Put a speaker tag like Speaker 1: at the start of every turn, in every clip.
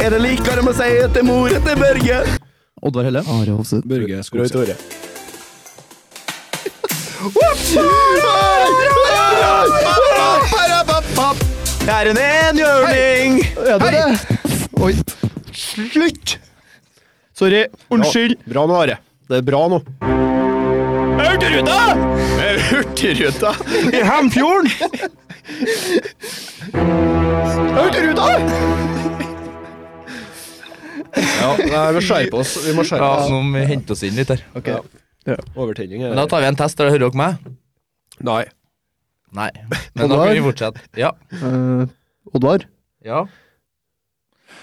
Speaker 1: Er det likere med å si etter mor etter Børge?
Speaker 2: Oddvar Helle.
Speaker 3: Are Hofseth.
Speaker 4: Børge
Speaker 1: Roy
Speaker 4: Skogseth.
Speaker 1: Tore. Det er en enhjørning!
Speaker 2: Er det det? Oi.
Speaker 1: Slutt! Sorry. Unnskyld. Bra nå, Are. Det er bra nå. Hurtigruta! Hurtigruta i Hemfjorden! Hurtigruta!
Speaker 4: Ja, nei, vi skjerper oss. Vi må skjerpe
Speaker 5: Ja,
Speaker 4: oss.
Speaker 5: nå må vi hente oss inn litt her.
Speaker 4: Overtenning
Speaker 5: Men da
Speaker 4: er
Speaker 5: tar vi en test. Har dere hørt dere meg?
Speaker 4: Nei.
Speaker 5: Nei. Men da kan vi fortsette. Ja.
Speaker 3: Eh, Oddvar.
Speaker 5: Ja.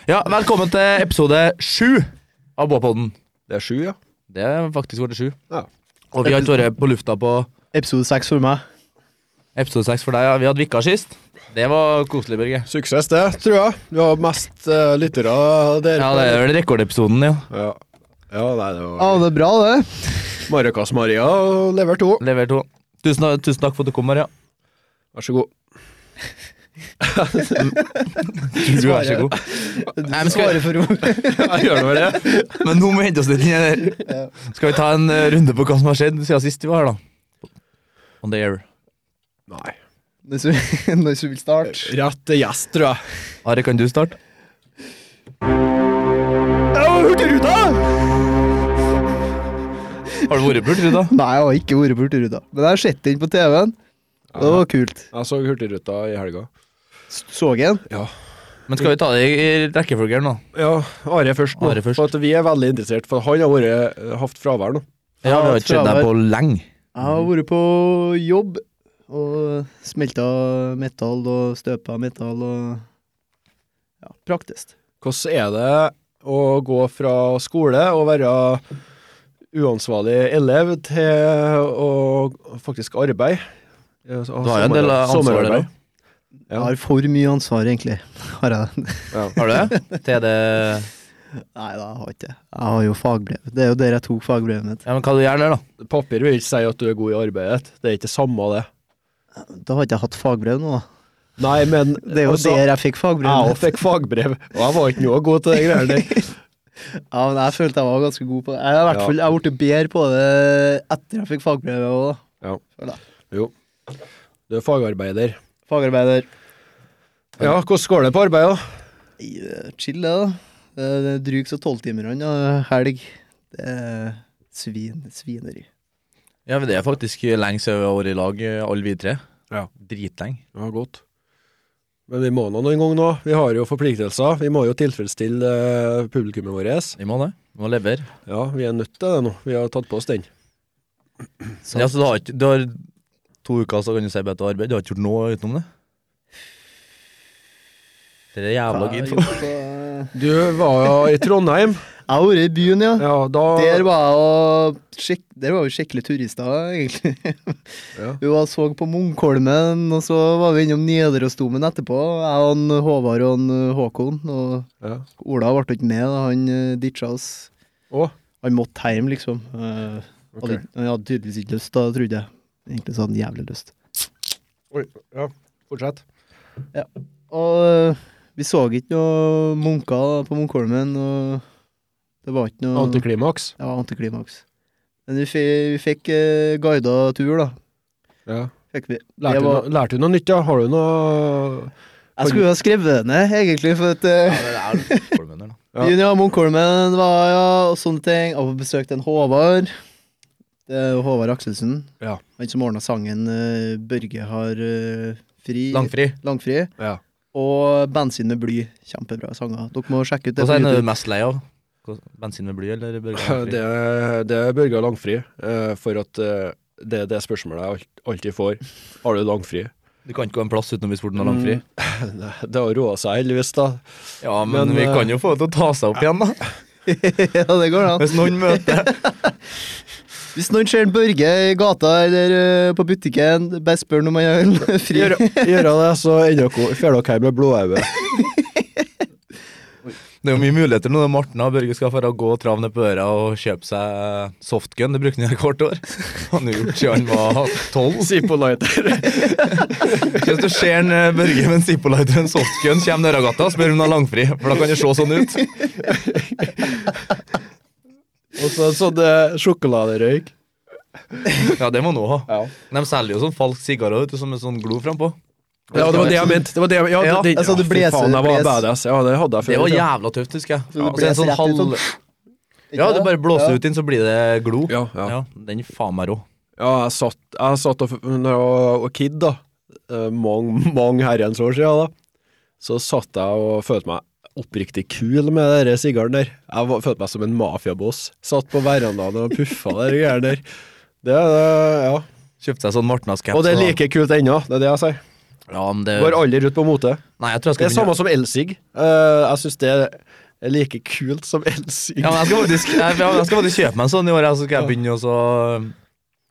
Speaker 5: ja, velkommen til episode sju av Båpodden.
Speaker 4: Det er sju, ja.
Speaker 5: Det er faktisk vært sju.
Speaker 4: Ja.
Speaker 5: Og vi har ikke vært på lufta på
Speaker 2: Episode seks for meg.
Speaker 5: episode seks for deg. Ja. Vi hadde vikar sist. Det var koselig, Børge.
Speaker 4: Suksess, det, tror jeg. Vi har mest eh, lyttere der.
Speaker 5: Ja, det er vel rekordepisoden, ja.
Speaker 4: Ja. ja, nei, det
Speaker 3: Ja,
Speaker 4: var
Speaker 3: det er bra, det.
Speaker 4: Maracas-Maria og lever to.
Speaker 5: Lever to. Tusen, tusen takk for at du kom, Maria.
Speaker 4: Vær så god.
Speaker 5: Du er så god. Nei, men, skal,
Speaker 2: Bare for ord.
Speaker 4: Jeg gjør noe med det.
Speaker 5: men nå må vi hente oss litt inn her. Skal vi ta en eh, runde på hva som har skjedd siden sist vi var her, da? On the air.
Speaker 4: Nei.
Speaker 3: Den som, den som vil starte.
Speaker 4: Rett til gjest, tror jeg.
Speaker 5: Are, kan du starte?
Speaker 1: Hurtigruta!
Speaker 5: Har du vært på Hurtigruta?
Speaker 3: Nei, jeg har ikke vært på Hurtigruta. Men jeg har sett den på TV-en. Det var kult.
Speaker 4: Jeg så Hurtigruta i helga.
Speaker 3: Så den?
Speaker 5: Men skal vi ta det i i rekkefølge her nå?
Speaker 4: Ja, Are først nå.
Speaker 5: Are først.
Speaker 4: For at vi er veldig interessert, for han har vært, hatt fravær nå.
Speaker 5: Ja, vi har ikke sett deg på lenge.
Speaker 3: Jeg har vært på jobb og smelta metall og støpa metall og Ja, praktisk.
Speaker 4: Hvordan er det å gå fra skole og være uansvarlig elev til å faktisk arbeid? Du
Speaker 5: Du har jo en del ansvar der òg.
Speaker 4: Ja.
Speaker 3: Jeg har for mye ansvar, egentlig. Har jeg det?
Speaker 5: Har du det? Til det
Speaker 3: Nei da, jeg har ikke det. Jeg har jo fagbrev. Det er jo der jeg tok fagbrevet mitt.
Speaker 5: Ja, men hva du gjør der, da?
Speaker 4: Papir vil ikke si at du er god i arbeidet ditt. Det er ikke det samme, det.
Speaker 3: Da har ikke jeg hatt fagbrev nå, da.
Speaker 4: Nei, men
Speaker 3: Det er jo
Speaker 4: altså,
Speaker 3: der jeg fikk fagbrevet
Speaker 4: Jeg
Speaker 3: mitt.
Speaker 4: òg fikk fagbrev, og jeg var ikke noe god til de greiene der.
Speaker 3: Ja, men jeg følte jeg var ganske god på det. Jeg har i hvert
Speaker 4: Ja.
Speaker 3: fall jeg har blitt bedre på det etter jeg fikk fagbrevet òg, da.
Speaker 4: Du er fagarbeider.
Speaker 3: Fagarbeider.
Speaker 4: Ja, hvordan går det på arbeid, da?
Speaker 3: Nei, det er Chill, det, da. Det er- Det er drygt så tolvtimerne og helg. Det er svin, svineri.
Speaker 5: Ja, men Det er faktisk lenge siden vi har vært i lag, eh, alle vi tre.
Speaker 4: Ja.
Speaker 5: Dritlenge.
Speaker 4: Ja, godt. Men vi må nå noen gang nå. Vi har jo forpliktelser. Vi må jo tilfredsstille eh, publikummet vårt.
Speaker 5: Vi må det. Vi må levere.
Speaker 4: Ja, vi er nødt til det nå. Vi har tatt på oss den.
Speaker 5: Men Ja, så du har, ikke, du har to uker, så kan du si bedre til arbeid. Du har ikke gjort noe utenom det? Det er jævla
Speaker 3: Jeg
Speaker 5: gidd.
Speaker 3: har gjort på-
Speaker 4: Du var i Trondheim.
Speaker 3: Jeg har vært i byen, ja.
Speaker 4: Ja, da
Speaker 3: Der var jeg og sjekk, Der var vi skikkelig turister, egentlig.
Speaker 4: Ja.
Speaker 3: Vi var og så på Munkholmen, og så var vi innom Nidarosdomen etterpå. Jeg og han Håvard og han Håkon. Og
Speaker 4: ja.
Speaker 3: Ola ble ikke med, da. han eh, ditcha oss.
Speaker 4: Å,
Speaker 3: Han måtte hjem, liksom. Eh,
Speaker 4: ok.
Speaker 3: hadde- Han hadde tydeligvis ikke lyst, da, trodde jeg. Egentlig så hadde han jævlig lyst.
Speaker 4: Oi, ja. Fortsett.
Speaker 3: Og eh, vi så ikke noe munker på Munkholmen, og det var ikke noe
Speaker 4: Antiklimaks.
Speaker 3: Ja, antiklimaks. Men vi, fi- vi fikk eh, guida tur, da.
Speaker 4: Ja.
Speaker 3: Fikk vi. Det
Speaker 4: Lærte, du
Speaker 3: var,
Speaker 4: noe- lærte du noe nytt, da? Har du noe
Speaker 3: jeg skulle jo ha skrevet det ned, egentlig, for at eh,
Speaker 4: Ja.
Speaker 3: byen ja, Munkholmen var ja, og sånne ting. Jeg var på besøk til en Håvard. Det er jo Håvard Akselsen.
Speaker 4: Ja.
Speaker 3: Han som ordna sangen eh, 'Børge har eh, fri'.
Speaker 5: Langfri.
Speaker 3: Langfri.
Speaker 4: Ja.
Speaker 3: Og 'Bensin med bly'. Kjempebra sanger. Dere må sjekke ut det.
Speaker 5: Hva
Speaker 3: på
Speaker 5: er det
Speaker 3: YouTube.
Speaker 5: du er mest lei av? Hva- Bensin med bly eller burger?
Speaker 4: Det, det er Børge har langfri, eh, for at eh, det er det spørsmålet jeg alt- alltid får. Har du langfri?
Speaker 5: Du kan ikke gå en plass uten å bli spurt om langfri.
Speaker 4: Nei, Det har roa seg heldigvis, da.
Speaker 5: Ja, men,
Speaker 4: Men,
Speaker 5: vi
Speaker 4: eh,
Speaker 5: kan jo få det til å ta seg opp igjen, da.
Speaker 3: ja, det går an.
Speaker 5: Hvis noen møter
Speaker 3: Hvis noen ser en Børge i gata eller eh, på butikken, bare spør han om han har fri.
Speaker 4: Gjør det, så ender dere drar dere hjem med blodøyne.
Speaker 5: Det er jo mye muligheter nå. Morten og Børge skal fara gå og trave ned på øra og kjøpe seg softgun. Det brukte han i hvert år. Han har gjort siden han var tolv.
Speaker 1: Zippo-lighter.
Speaker 5: Hvis du ser en eh, Børge med en Zippo-lighter og en softgun kommer Nørragata, spør om han har langfri, for da kan det se sånn ut.
Speaker 4: Og så sånn eh, sjokoladerøyk.
Speaker 5: Ja, det må han også ha.
Speaker 4: Ja.
Speaker 5: De selger jo sånn falsk sigar også, vet du, som en sånn glo frampå.
Speaker 4: ja, det var det jeg mente. Det var det jeg, ja,
Speaker 5: Ja, altså,
Speaker 4: det,
Speaker 2: jeg sa du
Speaker 4: fy
Speaker 2: blåser,
Speaker 4: faen, jeg var
Speaker 2: blås.
Speaker 4: badass. Ja, det hadde jeg
Speaker 5: Det
Speaker 4: før.
Speaker 5: var
Speaker 4: ja.
Speaker 5: jævla tøft, husker jeg.
Speaker 2: det
Speaker 5: Ja, og så en
Speaker 2: blåser
Speaker 5: sånn
Speaker 2: rett ut,
Speaker 5: halv... Ja, du bare blåser ut inn, så blir det glo.
Speaker 4: Ja, ja.
Speaker 5: Ja, den er faen meg rå.
Speaker 4: Ja, jeg satt, jeg satt og, når jeg var- var kid, da, eh, mange, mange herrens år siden, da, så satt jeg og følte meg oppriktig kul med den sigaren der. Jeg var, følte meg som en mafiaboss. Satt på verandaen og puffa de greiene der. Det, er det,
Speaker 5: Kjøpte seg sånn
Speaker 4: ja.
Speaker 5: Martnas-caps.
Speaker 4: Og det er
Speaker 5: da.
Speaker 4: like kult ennå, det er det jeg sier.
Speaker 5: Ja, men det...
Speaker 4: Går aldri ut på mote.
Speaker 5: Nei, jeg tror jeg
Speaker 4: Det er
Speaker 5: skal begynne-
Speaker 4: samme som elsig. Eh, Jeg syns det er like kult som elsig.
Speaker 5: Ja, men jeg skal faktisk, jeg, ja, jeg skal faktisk kjøpe meg en sånn i år, jeg, så skal jeg begynne å så, um,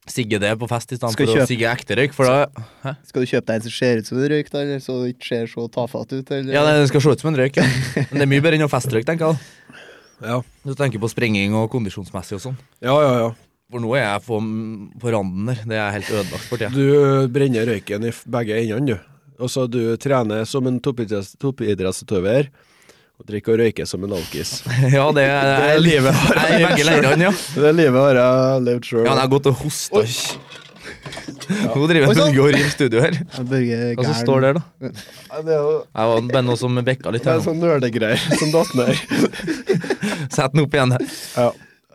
Speaker 5: sigge det på fest i stedet
Speaker 2: Skal
Speaker 5: for å
Speaker 2: kjøpe-
Speaker 5: sigge ekte røyk. For da,
Speaker 3: Skal du kjøpe deg en som ser ut som en røyk, da, eller så det ikke ser så tafatt ut? Eller?
Speaker 5: ja, det skal se ut som en røyk. ja. Men det er mye bedre enn å festrøyk, tenker jeg. da.
Speaker 4: Ja.
Speaker 5: Du tenker på sprenging og kondisjonsmessig og sånn.
Speaker 4: Ja, ja, ja.
Speaker 5: For nå er jeg på, på randen der. Det er helt ødelagt for tida.
Speaker 4: Du brenner røyken i f- begge endene, du. Og så du trener som en toppidretts- toppidrettsutøver og drikker og røyker som en alkis.
Speaker 5: Ja, det er,
Speaker 4: Det er livet har
Speaker 5: Jeg er i
Speaker 4: jeg
Speaker 5: begge
Speaker 4: levd selv.
Speaker 5: leirene, ja.
Speaker 4: Det livet har jeg levd sjøl.
Speaker 5: Ja, men jeg har gått og hosta. Nå driver jeg
Speaker 3: Oi, sant.
Speaker 5: Børge og river studio her.
Speaker 3: Børge er
Speaker 5: Hva som
Speaker 3: gæren.
Speaker 5: står der, da?
Speaker 4: det er jo
Speaker 5: Jeg var bare noe som bekka litt
Speaker 4: det
Speaker 5: her
Speaker 4: er
Speaker 5: nå.
Speaker 4: sånn nerdegreier som datt ned.
Speaker 5: Sett den opp igjen. her.
Speaker 4: Ja,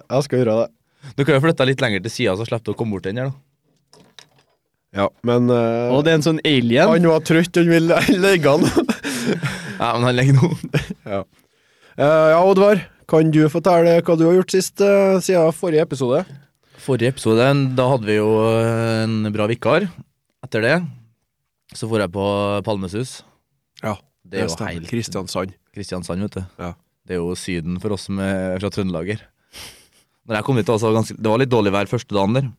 Speaker 4: jeg skal gjøre det.
Speaker 5: Du kan jo flytte deg litt lenger til sida, så slipper du å komme bort den her, da.
Speaker 4: Ja, men eh,
Speaker 2: Og det er en sånn alien.
Speaker 4: Han var trøtt, han ville legge han.
Speaker 5: Ja, men han legger nå.
Speaker 4: Eh, ja, Oddvar, kan du fortelle hva du har gjort sist eh, siden forrige episode?
Speaker 5: Forrige episode, da hadde vi jo eh, en bra vikar. Etter det så får jeg på Palmesus.
Speaker 4: Ja,
Speaker 5: Det er jo helt
Speaker 4: Kristiansand.
Speaker 5: Kristiansand, vet du.
Speaker 4: Ja.
Speaker 5: Det er jo Syden for oss som er fra Trøndelager. Når jeg kom hit, altså, ganske, Det var litt dårlig vær første dagen der,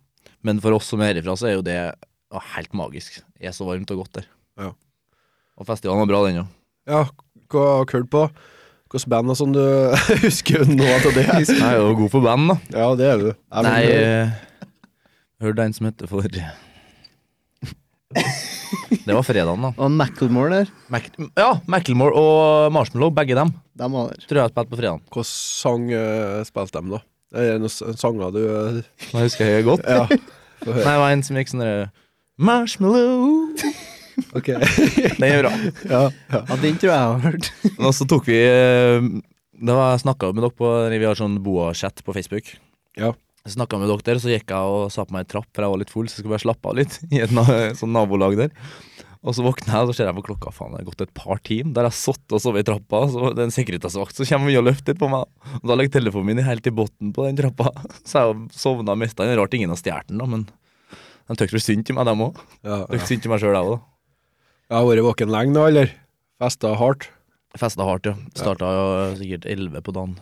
Speaker 5: men for oss som er herifra, så er jo det ja, helt magisk. Det er så varmt og godt der.
Speaker 4: Ja.
Speaker 5: Og festivalen var bra, den òg.
Speaker 4: Ja, hva har du hørt på? Hvilke band og sånn du husker du noe av det?
Speaker 5: Jeg er jo god for band, da.
Speaker 4: Ja, det er du. Jeg
Speaker 5: Nei,
Speaker 4: mener-
Speaker 5: eh, hørte en som heter for Det var fredagen, da.
Speaker 3: Og Macklemore der.
Speaker 5: Mac ja, Macklemore og Marshmallow, begge dem,
Speaker 3: De var der.
Speaker 5: tror jeg spilte på fredagen.
Speaker 4: Hvilken sang eh, spilte de, da? Er det noen s- sanger du eh,
Speaker 5: Det husker jeg godt.
Speaker 4: Ja, få
Speaker 5: Nei,
Speaker 4: høre.
Speaker 5: det var en som gikk sånn der, Marshmallow.
Speaker 4: Ok.
Speaker 5: Den er bra.
Speaker 4: Ja, ja.
Speaker 3: Ja, den tror jeg jeg har hørt.
Speaker 5: Og så tok vi eh, Da var jeg snakka med dere på Vi har sånn boa-chat på Facebook.
Speaker 4: Ja.
Speaker 5: Jeg snakka med dere, så gikk jeg og sa på meg en trapp, for jeg var litt full, så jeg skulle bare slappe av litt i et na sånn nabolag der. Og så våkna jeg, og så ser jeg på klokka, faen, det har gått et par timer. Der jeg satt og sovet i trappa, så det er en sekretærsvakt som kommer og løfter litt på meg. Og da ligger telefonen min helt i bunnen på den trappa, så jeg sovna og mista den. Rart ingen har stjålet den, da, men de tøkte vel synd til meg, dem òg.
Speaker 4: Ja, ja.
Speaker 5: Tøkte synd til meg sjøl, jeg òg, da.
Speaker 4: Jeg har vært våken lenge nå, eller? Festa hardt.
Speaker 5: Festa hardt, ja. Starta jo sikkert 11 på dagen.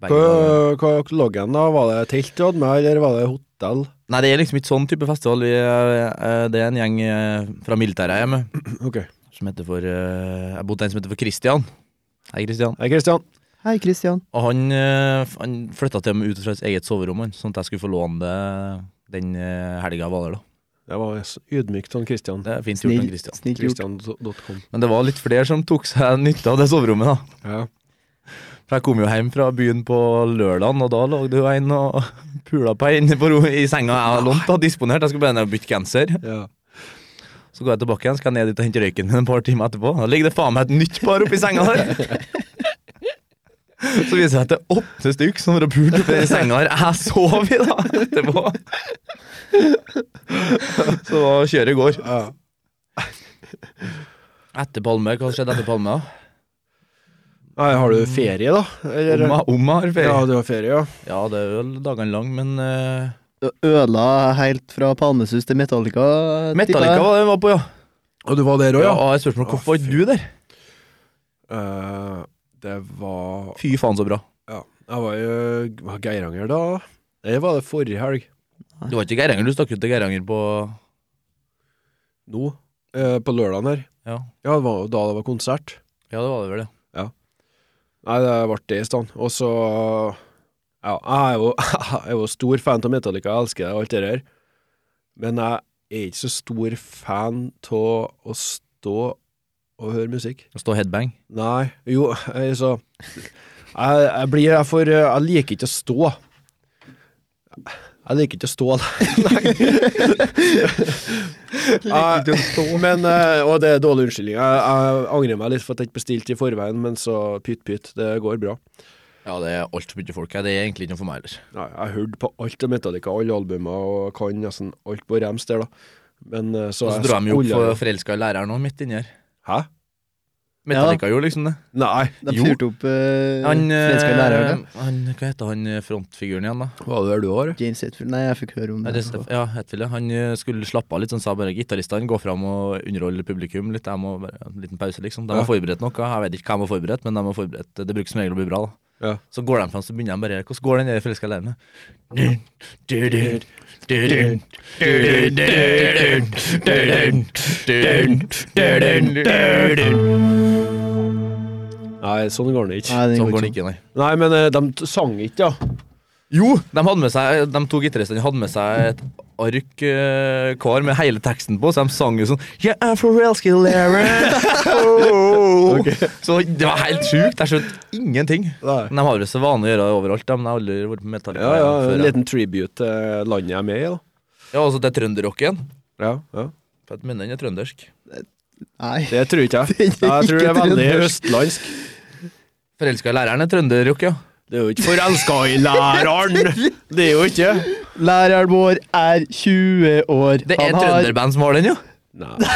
Speaker 5: Begge dager.
Speaker 4: Hva, hva lå igjen da? Var det telt du hadde med, eller var det hotell?
Speaker 5: Nei, det er liksom ikke sånn type festival. Vi, eh, det er en gjeng eh, fra militæret jeg er med,
Speaker 4: Ok.
Speaker 5: som heter for eh, Jeg bodde en som heter for Christian. Hei, Christian.
Speaker 4: Hei, Kristian.
Speaker 3: Hei, Kristian.
Speaker 5: Og han, eh, han flytta til meg ut fra sitt eget soverom, han, sånn at jeg skulle få låne det den eh, helga jeg var der, da.
Speaker 4: Det var så ydmykt sånn Kristian.
Speaker 5: Det er fint gjort av
Speaker 3: Snill,
Speaker 5: Christian.
Speaker 3: snill gjort.
Speaker 4: Kristian.com.
Speaker 5: Men det var litt flere som tok seg nytte av det soverommet, da.
Speaker 4: Ja.
Speaker 5: For jeg kom jo hjem fra byen på lørdagen, og da lå det jo en og pula på en inne på ro i senga jeg hadde lånt og disponert. Jeg skulle bare ned og bytte genser.
Speaker 4: ja.
Speaker 5: Så går jeg tilbake igjen, skal jeg ned dit og hente røyken min et par timer etterpå. Da ligger det faen meg et nytt par oppi senga der. Så viser det seg at det er åtte stykk som har pult oppi den senga her jeg sov i da, etterpå. Så da kjører jeg går.
Speaker 4: ja.
Speaker 5: Etter Palme, hva skjedde etter Palme? da?
Speaker 4: Nei, har du ferie, da? Eller?
Speaker 5: Omma, omma har ferie.
Speaker 4: Ja, du har ferie, ja.
Speaker 5: Ja, det er vel dagene lang, men eh,
Speaker 3: Du ødela helt fra Palmesus til Metallica. tipper jeg.
Speaker 5: Metallica var det den var på, ja.
Speaker 4: Og du var der òg,
Speaker 5: Ja,
Speaker 4: ja?
Speaker 5: og jeg spurte meg, hvorfor var ikke du der?
Speaker 4: Eh, det var
Speaker 5: Fy faen, så bra.
Speaker 4: Ja, jeg var jo var Geiranger da. Det var det forrige helg.
Speaker 5: Du var ikke i Geiranger, du stakk ut til Geiranger på
Speaker 4: Nå. Eh, på lørdagen her.
Speaker 5: ja.
Speaker 4: Ja, det var jo da det var konsert.
Speaker 5: ja, det var det vel, det.
Speaker 4: Nei, Nei, det ble det i stand. Og så Ja, jeg er jo, jeg er jo stor fan av Metallica, jeg elsker det og alt det der. Men jeg er ikke så stor fan av å stå og høre musikk.
Speaker 5: Å stå headbang.
Speaker 4: Nei, jo, jeg, så jeg, jeg blir jeg for eh, Jeg liker ikke å stå. Jeg liker ikke å stå Nei. Jeg- Men, eh, og det er dårlig unnskyldning. Jeg, jeg angrer meg litt for at jeg ikke bestilte i forveien, men så pytt pytt, det går bra.
Speaker 5: Ja, det er altfor mye folk her. Det er egentlig ikke noe for meg heller.
Speaker 4: Nei, jeg hørte på alt av Metallica, alle albumer, og kan nesten alt på rems der, da. Men eh, så
Speaker 5: Og så
Speaker 4: jeg
Speaker 5: drar de jo opp
Speaker 4: skulle-
Speaker 5: for forelska i læreren òg, midt inni her.
Speaker 4: Hæ?
Speaker 5: Metallica gjorde liksom det.
Speaker 4: Nei.
Speaker 3: De
Speaker 5: Jo.
Speaker 3: fyrte opp eh,
Speaker 5: Han,
Speaker 3: svenske læreren.
Speaker 5: eh, han Hva heter han eh, frontfiguren igjen, da?
Speaker 4: Hva er det du har?
Speaker 3: det. James Hetfield. Nei, jeg fikk høre om
Speaker 5: Nei,
Speaker 3: det.
Speaker 5: det, ja, Hetfield. ja. Han eh, skulle slappe av litt, sånn sa bare gitaristene gå fram og underholde publikum litt. Jeg må bare En liten pause, liksom. De
Speaker 4: Ja.
Speaker 5: har forberedt noe. Jeg vet ikke hva de har forberedt, men de har forberedt Det bruker som regel å bli bra, da.
Speaker 4: Ja.
Speaker 5: Så går de fram, så begynner de bare Hvordan går den der forelska læreren? Dun, dun, dun, dun, dun, dun, dun, dun, dun, dun, dun, dun.
Speaker 4: Nei, sånn går det ikke.
Speaker 3: Nei, den
Speaker 5: Sånn
Speaker 3: går
Speaker 5: går
Speaker 3: ikke.
Speaker 5: den ikke, nei.
Speaker 4: Nei, men eh, de t- sang ikke, ja.
Speaker 5: Jo, de, hadde med seg, de to gitaristene hadde med seg et ark eh, hver med hele teksten på, så de sang jo sånn Jeg er forelsket i Lara. Oh. Så det var helt sjukt. Jeg skjønte ingenting.
Speaker 4: Nei.
Speaker 5: Men De har jo så vane å gjøre det overalt, da, men jeg har aldri vært på Metallica
Speaker 4: Ja, ja, en
Speaker 5: før. jeg.
Speaker 4: liten tribute til landet jeg er med i, da.
Speaker 5: Ja, også til trønderrocken.
Speaker 4: Ja, ja.
Speaker 5: For jeg mener den er trøndersk.
Speaker 3: Nei.
Speaker 4: Det tror ikke jeg. Nei, jeg tror det er veldig østlandsk.
Speaker 5: Forelska i læreren er trønderrock, ja.
Speaker 4: Det er jo ikke forelska i læreren! Det er jo ikke
Speaker 3: Læreren vår er 20 år.
Speaker 5: Det er
Speaker 3: Han har-
Speaker 5: trønderband som har den, jo.
Speaker 4: Nei,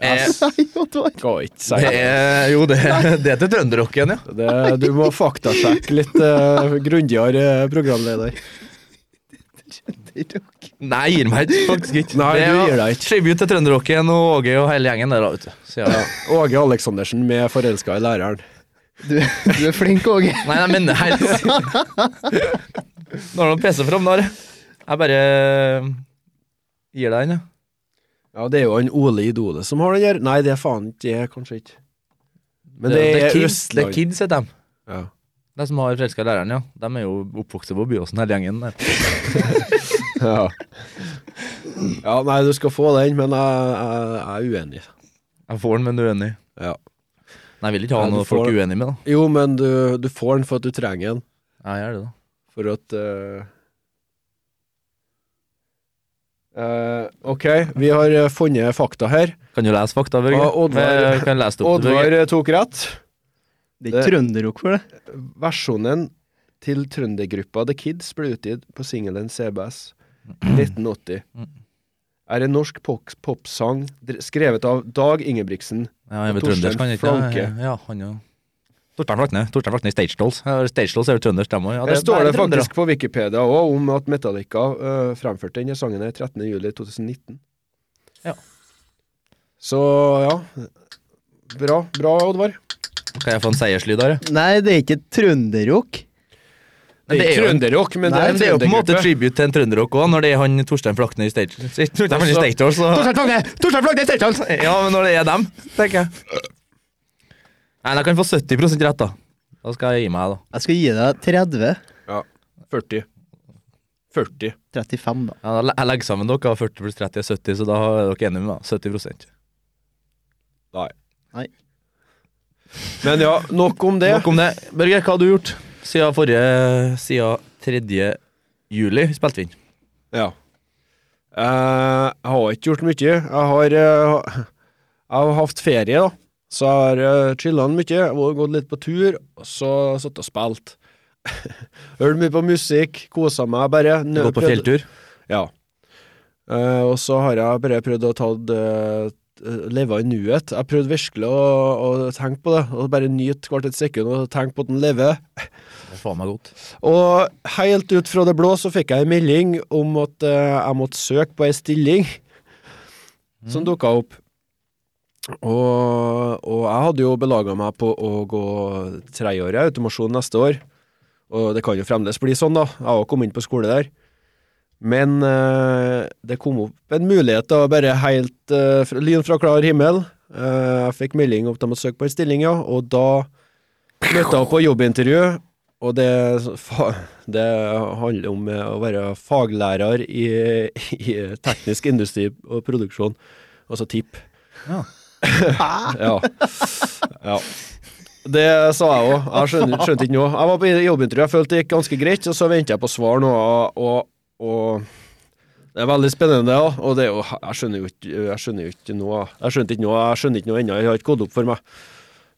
Speaker 5: Eh,
Speaker 4: jeg
Speaker 3: Nei, Oddvar.
Speaker 4: skal ikke si
Speaker 5: det
Speaker 4: det.
Speaker 5: er, jo, det, det er til trønderrocken, ja.
Speaker 4: Det- Du må faktasjekke litt uh, grundigere, eh, programleder.
Speaker 5: Nei, jeg gir meg ikke, faktisk ikke.
Speaker 4: Nei,
Speaker 5: det
Speaker 4: du
Speaker 5: er
Speaker 4: gir deg ikke.
Speaker 5: tribute til trønderrocken og Åge og hele gjengen der, da, vet du. Så, ja.
Speaker 4: Åge Aleksandersen med 'Forelska i læreren'.
Speaker 3: Du, du er flink, Åge.
Speaker 5: Nei, jeg mener helt Nå har du PC fram, da. Jeg bare eh, gir deg den, jeg.
Speaker 4: Ja, det er jo han Ole Idole som har den her. Nei, det er faen ikke det, kanskje ikke. Men det,
Speaker 5: The Kids,
Speaker 4: er
Speaker 5: The
Speaker 4: Østland.
Speaker 5: Kids heter de.
Speaker 4: Ja.
Speaker 5: De som har forelska læreren, ja. De er jo oppvokst på Byåsen, hele gjengen. der.
Speaker 4: Ja. ja, nei, du skal få den, men jeg, jeg, jeg er uenig.
Speaker 5: Jeg får den, men du er uenig.
Speaker 4: Ja.
Speaker 5: Nei, jeg vil ikke ha
Speaker 4: Ja, du
Speaker 5: noe
Speaker 4: får
Speaker 5: folk
Speaker 4: den.
Speaker 5: uenig med, da.
Speaker 4: Jo, men du, du får den for at du trenger den.
Speaker 5: Ja, jeg gjør det, da.
Speaker 4: For at eh, eh, Ok, vi har eh, funnet fakta her.
Speaker 5: Kan du lese fakta, Børge?
Speaker 4: Ja, Oddvar-
Speaker 5: Eh, Kan jeg lese det opp, til Børge?
Speaker 4: Oddvar eh, tok rett.
Speaker 3: Det er ikke trønderrock for det.
Speaker 4: Versjonen til trøndergruppa The Kids ble utgitt på singelen CBS 1980. Er en norsk pop- popsang dr- skrevet av Dag Ingebrigtsen.
Speaker 5: Ja, jeg er vel
Speaker 4: Torstein
Speaker 5: trøndersk, han er ikke
Speaker 4: Flanke.
Speaker 5: ja, ja, han er Torstein Flakne. Torstein Flakne i Stage Dolls. Ja, Stage Dolls er jo trøndersk, dem òg. Ja,
Speaker 4: Her står
Speaker 5: Eh, er
Speaker 4: det
Speaker 5: trøndere.
Speaker 4: faktisk på Wikipedia òg om at Metallica eh, fremførte denne sangen her 13. juli 2019.
Speaker 5: Ja.
Speaker 4: Så ja. Bra, bra Oddvar.
Speaker 5: Kan jeg få en seierslyd der, ja?
Speaker 3: Nei, det er ikke trønderrock.
Speaker 5: Men
Speaker 4: Det er
Speaker 5: jo en-
Speaker 4: trønderrock, men
Speaker 5: Nei, men
Speaker 4: det er en
Speaker 5: jo på en måte
Speaker 4: trøndergruppe.
Speaker 5: tribute til en trønderrock òg, når det er han Torstein Flakne i Stage Dolls. Torstein Flakne i Stage Dolls, så- Ja, men når det er dem, tenker jeg. Nei, jeg kan få 70 rett, da. Da skal jeg gi meg, da.
Speaker 3: Jeg skal gi deg 30.
Speaker 4: Ja. 40. 40.
Speaker 3: 35, da.
Speaker 5: Ja, da le- jeg legger sammen dere, og 40 pluss 30 er 70, så da er dere enige med meg. 70
Speaker 4: Nei.
Speaker 3: Nei.
Speaker 4: Men ja, nok om det.
Speaker 5: Nok om det. Børge, hva har du gjort siden forrige Siden 3. juli spilte vi inn?
Speaker 4: Ja. Eh, jeg har ikke gjort mye. Jeg har, eh, jeg har hatt ferie, da. Så jeg har uh, chilla mye. Jeg har gått litt på tur, og så satt og spilt. Hørt mye på musikk, kosa meg bare. Nø-
Speaker 5: Gå på
Speaker 4: prøvd-
Speaker 5: fjelltur?
Speaker 4: Ja. Eh, og så har jeg bare prøvd å ta det eh, Leve i nuet. Jeg prøvde virkelig å, å tenke på det, og bare nyte hvert et sekund og tenke på at den lever.
Speaker 5: Det er faen meg godt.
Speaker 4: Og helt ut fra det blå så fikk jeg en melding om at eh, jeg måtte søke på ei stilling som dukka opp. Og, og jeg hadde jo belaga meg på å gå tredjeåret i automasjon neste år. Og det kan jo fremdeles bli sånn, da. Jeg har jo kommet inn på skole der. Men eh, det kom opp en mulighet, da, bare helt eh, fra- lyn fra klar himmel. Eh, jeg fikk melding om at jeg måtte søke på en stilling, ja, og da Møtte opp på jobbintervju, og det, fa- det handler om eh, å være faglærer i, i teknisk industri og produksjon, altså TIP.
Speaker 5: Ja.
Speaker 4: ja. ja. Det sa jeg òg. Jeg skjønte, skjønte ikke noe. Jeg var på jobbintervju, jeg følte det gikk ganske greit, og så venter jeg på svar nå, og, og, og det er veldig spennende, ja. og det er jo Jeg skjønner jo ikke, jeg skjønner jo ikke noe. Jeg skjønte ikke noe, jeg skjønner ikke noe ennå. Det har ikke gått opp for meg,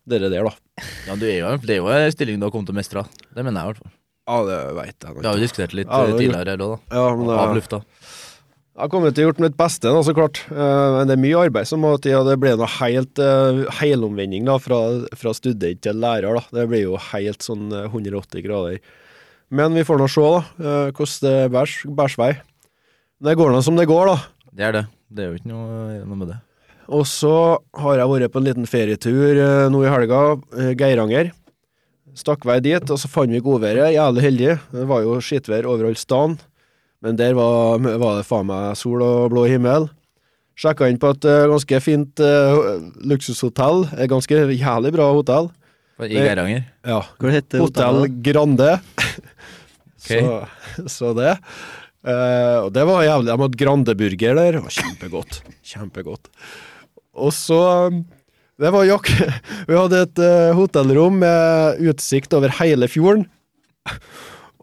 Speaker 4: det der, da.
Speaker 5: Ja, du er jo, det er jo en stilling du har kommet til å mestre. Det mener jeg i hvert fall.
Speaker 4: Ja, det veit jeg
Speaker 5: Vi har jo diskutert litt
Speaker 4: Ja, det
Speaker 5: eh,
Speaker 4: er
Speaker 5: tidligere her òg, da.
Speaker 4: Ja, men det,
Speaker 5: Av lufta.
Speaker 4: jeg kommer til å gjort mitt beste, da, så klart. Eh, Men det er mye arbeid som må til, og det blir noe helt eh, helomvending da, fra, fra student til lærer. da. Det blir jo helt sånn eh, 180 grader. Men vi får nå se, da, eh, hvordan det bærs, bærs vei. Det går nå som det går, da.
Speaker 5: Det er det. Det er jo ikke noe, eh, noe med det.
Speaker 4: Og så har jeg vært på en liten ferietur eh, nå i helga, eh, Geiranger. Stakk vei dit, og så fant vi godværet. Jævlig heldig. Det var jo skitvær overalt stan. Men der var, var det faen meg sol og blå himmel. Sjekka inn på et eh, ganske fint eh, luksushotell. Et ganske jævlig bra hotell.
Speaker 5: I Geiranger.
Speaker 4: Ja,
Speaker 3: Hva heter
Speaker 4: Hotell
Speaker 3: hotellet?
Speaker 4: Grande.
Speaker 5: Ok.
Speaker 4: Så, så det. Eh, og det var jævlig. De hadde Grande-burger der. Det var kjempegodt. Kjempegodt. Og så um, Det var jakk. Vi hadde et eh, hotellrom med utsikt over hele fjorden.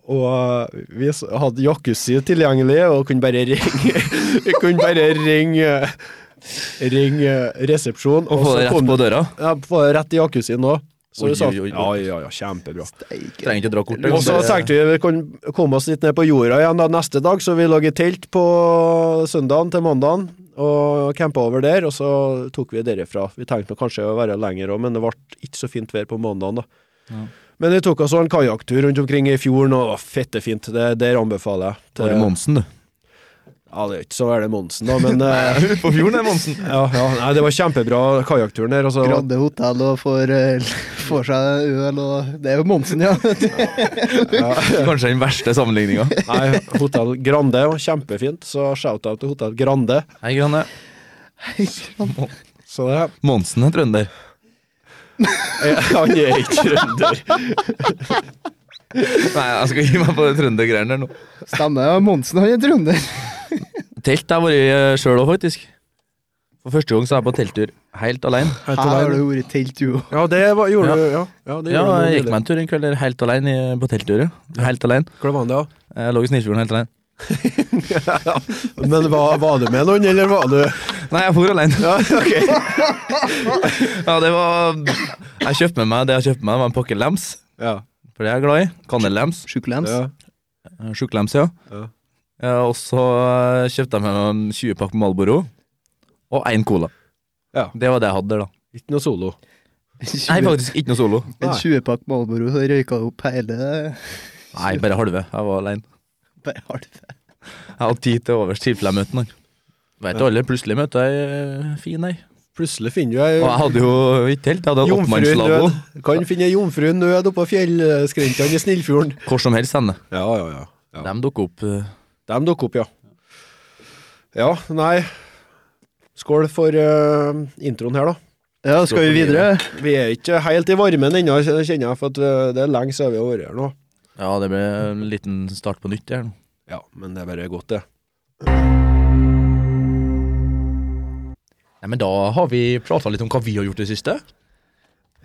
Speaker 4: Og eh, vi s- hadde jacuzzi tilgjengelig og kunne bare ringe Vi kunne bare ringe Ringe resepsjonen.
Speaker 5: Og få det
Speaker 4: så kom-
Speaker 5: rett på døra.
Speaker 4: ja, på rett i jacuzzien nå. Så
Speaker 5: Oi,
Speaker 4: vi sa
Speaker 5: oi, eh, oi.
Speaker 4: ja, ja, ja, kjempebra.
Speaker 5: Trenger ikke å dra liksom. kortet.
Speaker 4: Og så tenkte vi vi kunne komme oss litt ned på jorda igjen da neste dag, så vi lå i telt på søndagen til mandagen og campa over der, og så tok vi derifra. Vi tenkte nå kanskje å være lenger òg, men det ble ikke så fint vær på mandagen, da. Men vi tok oss også en kajakktur rundt omkring i fjorden, og det var fettefint. Det der anbefaler jeg.
Speaker 5: Bare
Speaker 4: Til,
Speaker 5: Monsen, du.
Speaker 4: ja, det er ikke så veldig Monsen, da, men eh,
Speaker 5: Ute på fjorden er Monsen.
Speaker 4: ja, ja, nei, det var kjempebra kajakkturen der. Altså,
Speaker 3: Grande hotell og får, eh, får seg øl og Det er jo Monsen, ja.
Speaker 5: Kanskje den verste sammenligninga.
Speaker 4: Nei, Hotell Grande var kjempefint, så shout-out til Hotell Grande.
Speaker 5: Hei, Granne.
Speaker 4: Så det
Speaker 5: Monsen er trønder.
Speaker 4: Eh, Han er ikke trønder.
Speaker 5: Nei, jeg skal gi meg på det trøndergreiene der nå.
Speaker 3: Stemmer, ja. Monsen han er trønder.
Speaker 5: Telt har jeg vært sjøl òg, faktisk. For første gang så er jeg på telttur helt alene.
Speaker 3: Her har du vært i telt, du òg.
Speaker 4: Ja, det var, gjorde du. Ja, ja, det
Speaker 5: Ja,
Speaker 4: gjorde du
Speaker 5: jeg gikk
Speaker 4: nylig.
Speaker 5: meg en tur en kveld der helt alene i- på telttur. ja. Helt alene.
Speaker 4: Hvor var det,
Speaker 5: Jeg lå i Snillfjorden helt alene.
Speaker 4: da? Men var, var du med noen, eller var du
Speaker 5: Nei, jeg for alene.
Speaker 4: Ja, ok.
Speaker 5: Ja, det var Jeg kjøpte med meg det jeg kjøpte med meg, var en pakke lems.
Speaker 4: Ja.
Speaker 5: For det er jeg glad i. Kanellems.
Speaker 3: Sjuklems.
Speaker 4: Ja.
Speaker 5: Eh, Sjuklems, ja.
Speaker 4: Ja.
Speaker 5: Eh, Og så eh, kjøpte jeg med meg en 20-pakk med Malboro. Og én cola.
Speaker 4: Ja.
Speaker 5: Det var det jeg hadde der, da.
Speaker 4: Ikke noe solo.
Speaker 5: Nei, faktisk ikke noe solo.
Speaker 3: En 20-pakk Malboro, så røyka opp hele
Speaker 5: Nei, bare halve. Jeg var alene.
Speaker 3: bare halve.
Speaker 5: Jeg hadde tid til overs tilfelle jeg møtte noen. Vet du alle, plutselig møtte jeg eh, fin ei.
Speaker 4: Plutselig finner du
Speaker 5: Og
Speaker 4: ei
Speaker 5: jeg hadde jo ikke helt, jeg hadde en oppmannslabo.
Speaker 4: jomfrunød. Kan finne ei jomfrunød oppå fjellskrentene i Snillfjorden.
Speaker 5: Hvor som helst henne.
Speaker 4: Ja, ja, ja.
Speaker 5: De dukker opp. eh,
Speaker 4: De dukker opp, ja. Ja, nei Skål for eh, introen her, da.
Speaker 3: Ja, skal vi videre?
Speaker 4: Vi er ikke helt i varmen ennå, kjenner jeg, for at eh, det er lenge siden vi har vært her nå.
Speaker 5: Ja, det ble en liten start på nytt her nå.
Speaker 4: Ja, men det er bare godt, det.
Speaker 5: Nei, men da har vi prata litt om hva vi har gjort i det siste.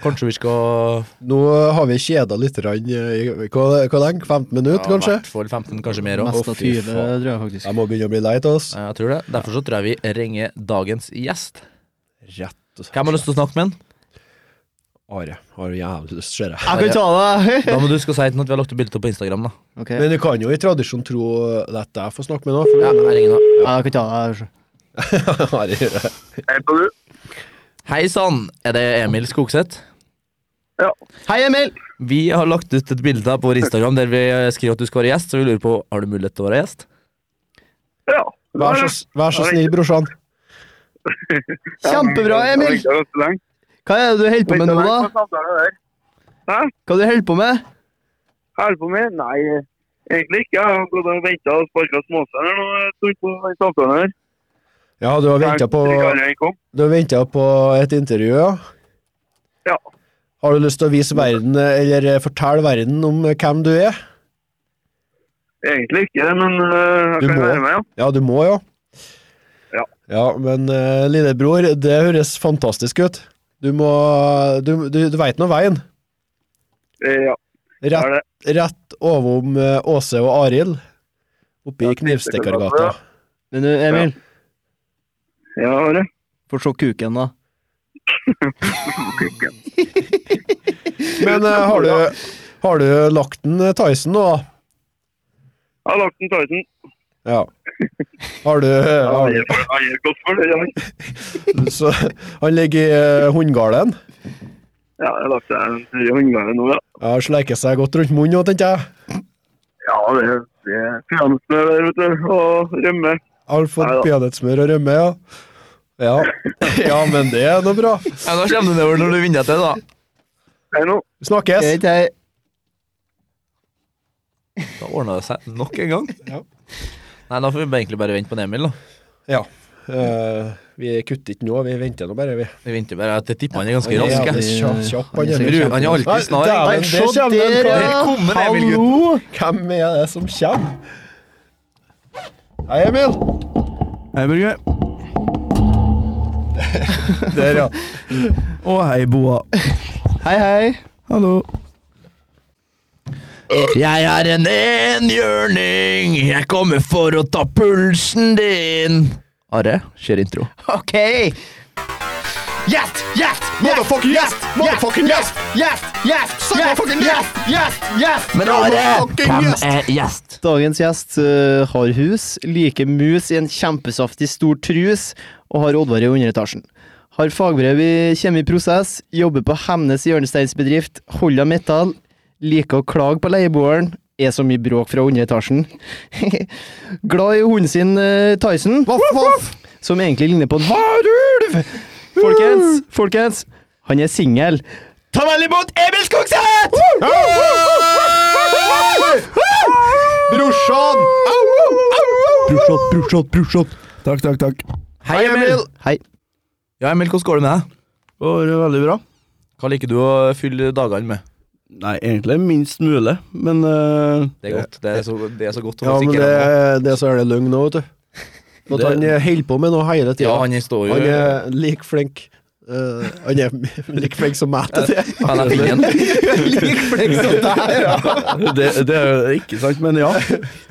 Speaker 5: Kanskje vi skal
Speaker 4: Nå har vi kjeda litt rann, eh, i hva, hva lenge? 15 minutter, kanskje?
Speaker 5: I hvert fall 15, kanskje mer òg.
Speaker 3: Mest av 20, tror jeg faktisk.
Speaker 4: Jeg må begynne å bli lei av oss.
Speaker 5: Jeg tror det. Derfor så tror jeg vi ringer dagens gjest.
Speaker 4: Rett og slett.
Speaker 5: Hvem har lyst til å snakke med han?
Speaker 4: Are har jævlig lyst, ser jeg.
Speaker 3: Jeg kan ta det!
Speaker 5: Da må du skal si til han at vi har lagt ut bilde av på Instagram, da.
Speaker 3: Ok,
Speaker 4: Men du kan jo i tradisjon tro at jeg får snakke med noen.
Speaker 5: Ja, jeg ringer han.
Speaker 3: jeg kan ta det. altså.
Speaker 4: For Are gjør det.
Speaker 5: Hei sann, er det Emil Skogseth?
Speaker 3: Hei, Emil!
Speaker 5: Vi har lagt ut et bilde her på vår Instagram der vi skriver at du skal være gjest, så vi lurer på har du mulighet til å være gjest.
Speaker 6: Ja.
Speaker 4: Vær så, s- vær så snill, brorsan.
Speaker 3: Kjempebra, Emil! Hva er det du holder på med nå, da?
Speaker 6: Jeg
Speaker 3: Hva er det du holder på med?
Speaker 6: holder på med Nei, egentlig ikke. Jeg har gått og venta og sparka småsteiner nå en stund på den samtalen her.
Speaker 4: Ja, du har venta på,
Speaker 6: Jeg- jeg kom.
Speaker 4: du har ventet på et intervju, ja?
Speaker 6: Ja.
Speaker 4: Har du lyst til å vise verden, eh, eller eh, fortelle verden om eh, hvem du er?
Speaker 6: Egentlig ikke, men øh, jeg
Speaker 4: Du
Speaker 6: kan
Speaker 4: må.
Speaker 6: være med, ja.
Speaker 4: Ja, du må jo.
Speaker 6: Ja.
Speaker 4: Ja, men eh, lillebror, det høres fantastisk ut. Du må Du, du, du veit nå veien.
Speaker 6: Eh, ja. det er
Speaker 4: Rett,
Speaker 6: det.
Speaker 4: rett overom eh, Åse og Arild. Oppe i Knivstikkergata.
Speaker 3: Men du, Emil,
Speaker 6: Ja, det. er det.
Speaker 3: få se kuken, da.
Speaker 4: Men eh, har, du, har du lagt den eh, Tyson nå, da?
Speaker 6: Jeg har lagt en Titan.
Speaker 4: Ja. Har du, har
Speaker 6: Jeg er- jeg er godt for det, ja.
Speaker 4: du så, Han ligger i eh, hundgarden.
Speaker 6: Ja, jeg har lagt deg en tre hundganger nå, ja.
Speaker 4: Ja, Sleiker seg godt rundt munnen nå, tenkte jeg.
Speaker 6: Ja, det, det er peanøttsmør der, vet du, og rømme.
Speaker 4: Har fått
Speaker 6: Neida.
Speaker 4: peanøttsmør og rømme, ja. ja. Ja, men det er nå bra.
Speaker 5: Ja, Da kommer du nedover når du vinner til, da.
Speaker 6: Hei nå.
Speaker 4: Vi Snakkes.
Speaker 3: Greit, hei.
Speaker 5: Da ordna det seg nok en gang. Nei, da får vi egentlig bare vente på en Emil, da.
Speaker 4: Ja. Eh, vi kutter ikke nå, vi venter nå bare, vi.
Speaker 5: Vi venter bare at jeg tipper han er ganske
Speaker 4: Ja,
Speaker 5: rask.
Speaker 4: det
Speaker 5: jeg.
Speaker 4: er kjapp, kjapp,
Speaker 5: Han
Speaker 4: han er
Speaker 5: er han er alltid snar.
Speaker 4: Nei, dæven, der kommer det en
Speaker 5: Der
Speaker 4: kar.
Speaker 5: kom en Emil, gutt.
Speaker 4: Hallo! Hvem er det som kommer? Hei, Emil.
Speaker 2: Hei, Børge.
Speaker 4: Der, ja.
Speaker 2: Og hei, Boa.
Speaker 3: Hei, hei.
Speaker 2: Hallo.
Speaker 5: Jeg er en enhjørning, jeg kommer for å ta pulsen din. Are, kjør intro.
Speaker 3: OK. Yes, yes,
Speaker 1: Motherfucking yes! Motherfucking yes!
Speaker 3: yes, yes, yes,
Speaker 1: Motherfucking yes!
Speaker 3: yes, yes.
Speaker 5: Men Are,
Speaker 1: Fucking
Speaker 5: hvem
Speaker 1: gjest!
Speaker 5: er gjest?
Speaker 3: Dagens gjest eh, har hus, liker mus i en kjempesaftig stor trus, og har Oddvar i underetasjen. Har fagbrev i kjemiprosess, jobber på Hemnes hjørnesteinsbedrift, holder av metall, liker å klage på leieboeren, er så mye bråk fra underetasjen. Glad i hunden sin eh, Tyson, som egentlig ligner på en varulv! Folkens, folkens, han er singel. Ta vel imot Emil Skogseth!
Speaker 1: Brorsan!
Speaker 2: Brorshot, brorshot, brorshot. Takk, takk, takk.
Speaker 5: Hei, Emil.
Speaker 3: Hei.
Speaker 5: Ja, Emil, hvordan går det med deg?
Speaker 7: går veldig bra.
Speaker 5: Hva liker du å fylle dagene med?
Speaker 7: Nei, egentlig minst mulig, men eh,
Speaker 5: Det er godt. Det er så, det er så godt å
Speaker 4: Ja,
Speaker 5: få
Speaker 4: men
Speaker 5: sikre
Speaker 4: det,
Speaker 5: han på.
Speaker 4: det så er det løgn nå, vet du. For at
Speaker 5: Det-
Speaker 4: han eh, holder på med noe hele
Speaker 5: Ja,
Speaker 4: tida.
Speaker 5: han står jo
Speaker 4: Han er like flink. eh, han er like flink som meg til det.
Speaker 5: Han er fingen.
Speaker 4: Like flink som deg, ja.
Speaker 7: det, det er jo ikke sant, men ja.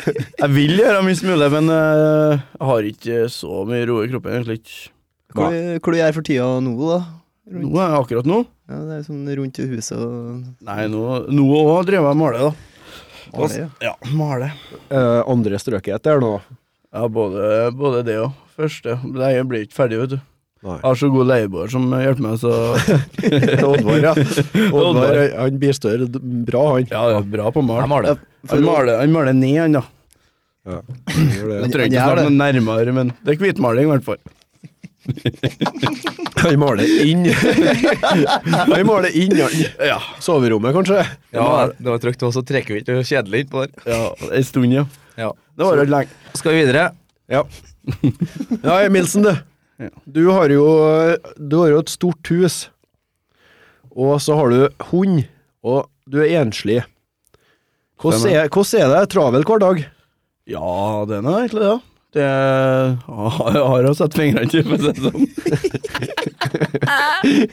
Speaker 7: Jeg vil gjøre minst mulig, men eh, jeg har ikke så mye ro i kroppen, egentlig ikke.
Speaker 3: Hvor, hvor du er for tida nå, da?
Speaker 7: Nå er jeg akkurat nå.
Speaker 3: Ja, det er sånn rundt i huset og
Speaker 7: Nei, nå, nå også driver jeg og maler, da.
Speaker 3: Maler, ja.
Speaker 7: Ja, maler.
Speaker 4: Eh, andre strøket etter nå.
Speaker 7: Ja, både, både det og første. Nei, jeg blir ikke ferdig, vet du.
Speaker 4: Nei.
Speaker 7: Jeg har så god leieboer som hjelper meg, så
Speaker 4: Oddvar, ja. Oddvar,
Speaker 7: Oddvar.
Speaker 4: han bistår bra, han.
Speaker 7: Ja, det er bra på å
Speaker 5: Jeg
Speaker 7: male.
Speaker 5: maler.
Speaker 7: Han maler, han maler ned, han, da.
Speaker 4: Gjør det.
Speaker 7: Jeg trenger ikke
Speaker 3: Han gjør
Speaker 7: snakke noe nærmere, men det er hvitmaling, i hvert fall.
Speaker 4: Han maler inn. Han maler inn han.
Speaker 7: Ja.
Speaker 4: soverommet, kanskje.
Speaker 5: Ja, det var trygt. Det var så trekkvitt og kjedelig innpå der.
Speaker 7: Ja, en stund, ja.
Speaker 5: Ja.
Speaker 7: Det var jo lenge.
Speaker 5: Skal vi videre?
Speaker 4: Ja, Emilsen, du.
Speaker 7: Ja.
Speaker 4: Du har jo, du har jo et stort hus. Og så har du hund, og du er enslig. Hvordan
Speaker 7: Stemmer.
Speaker 4: er, hvordan er det travel hver dag?
Speaker 7: Ja, den er egentlig det. Det jeg har jeg har satt fingrene til, for å si det sånn.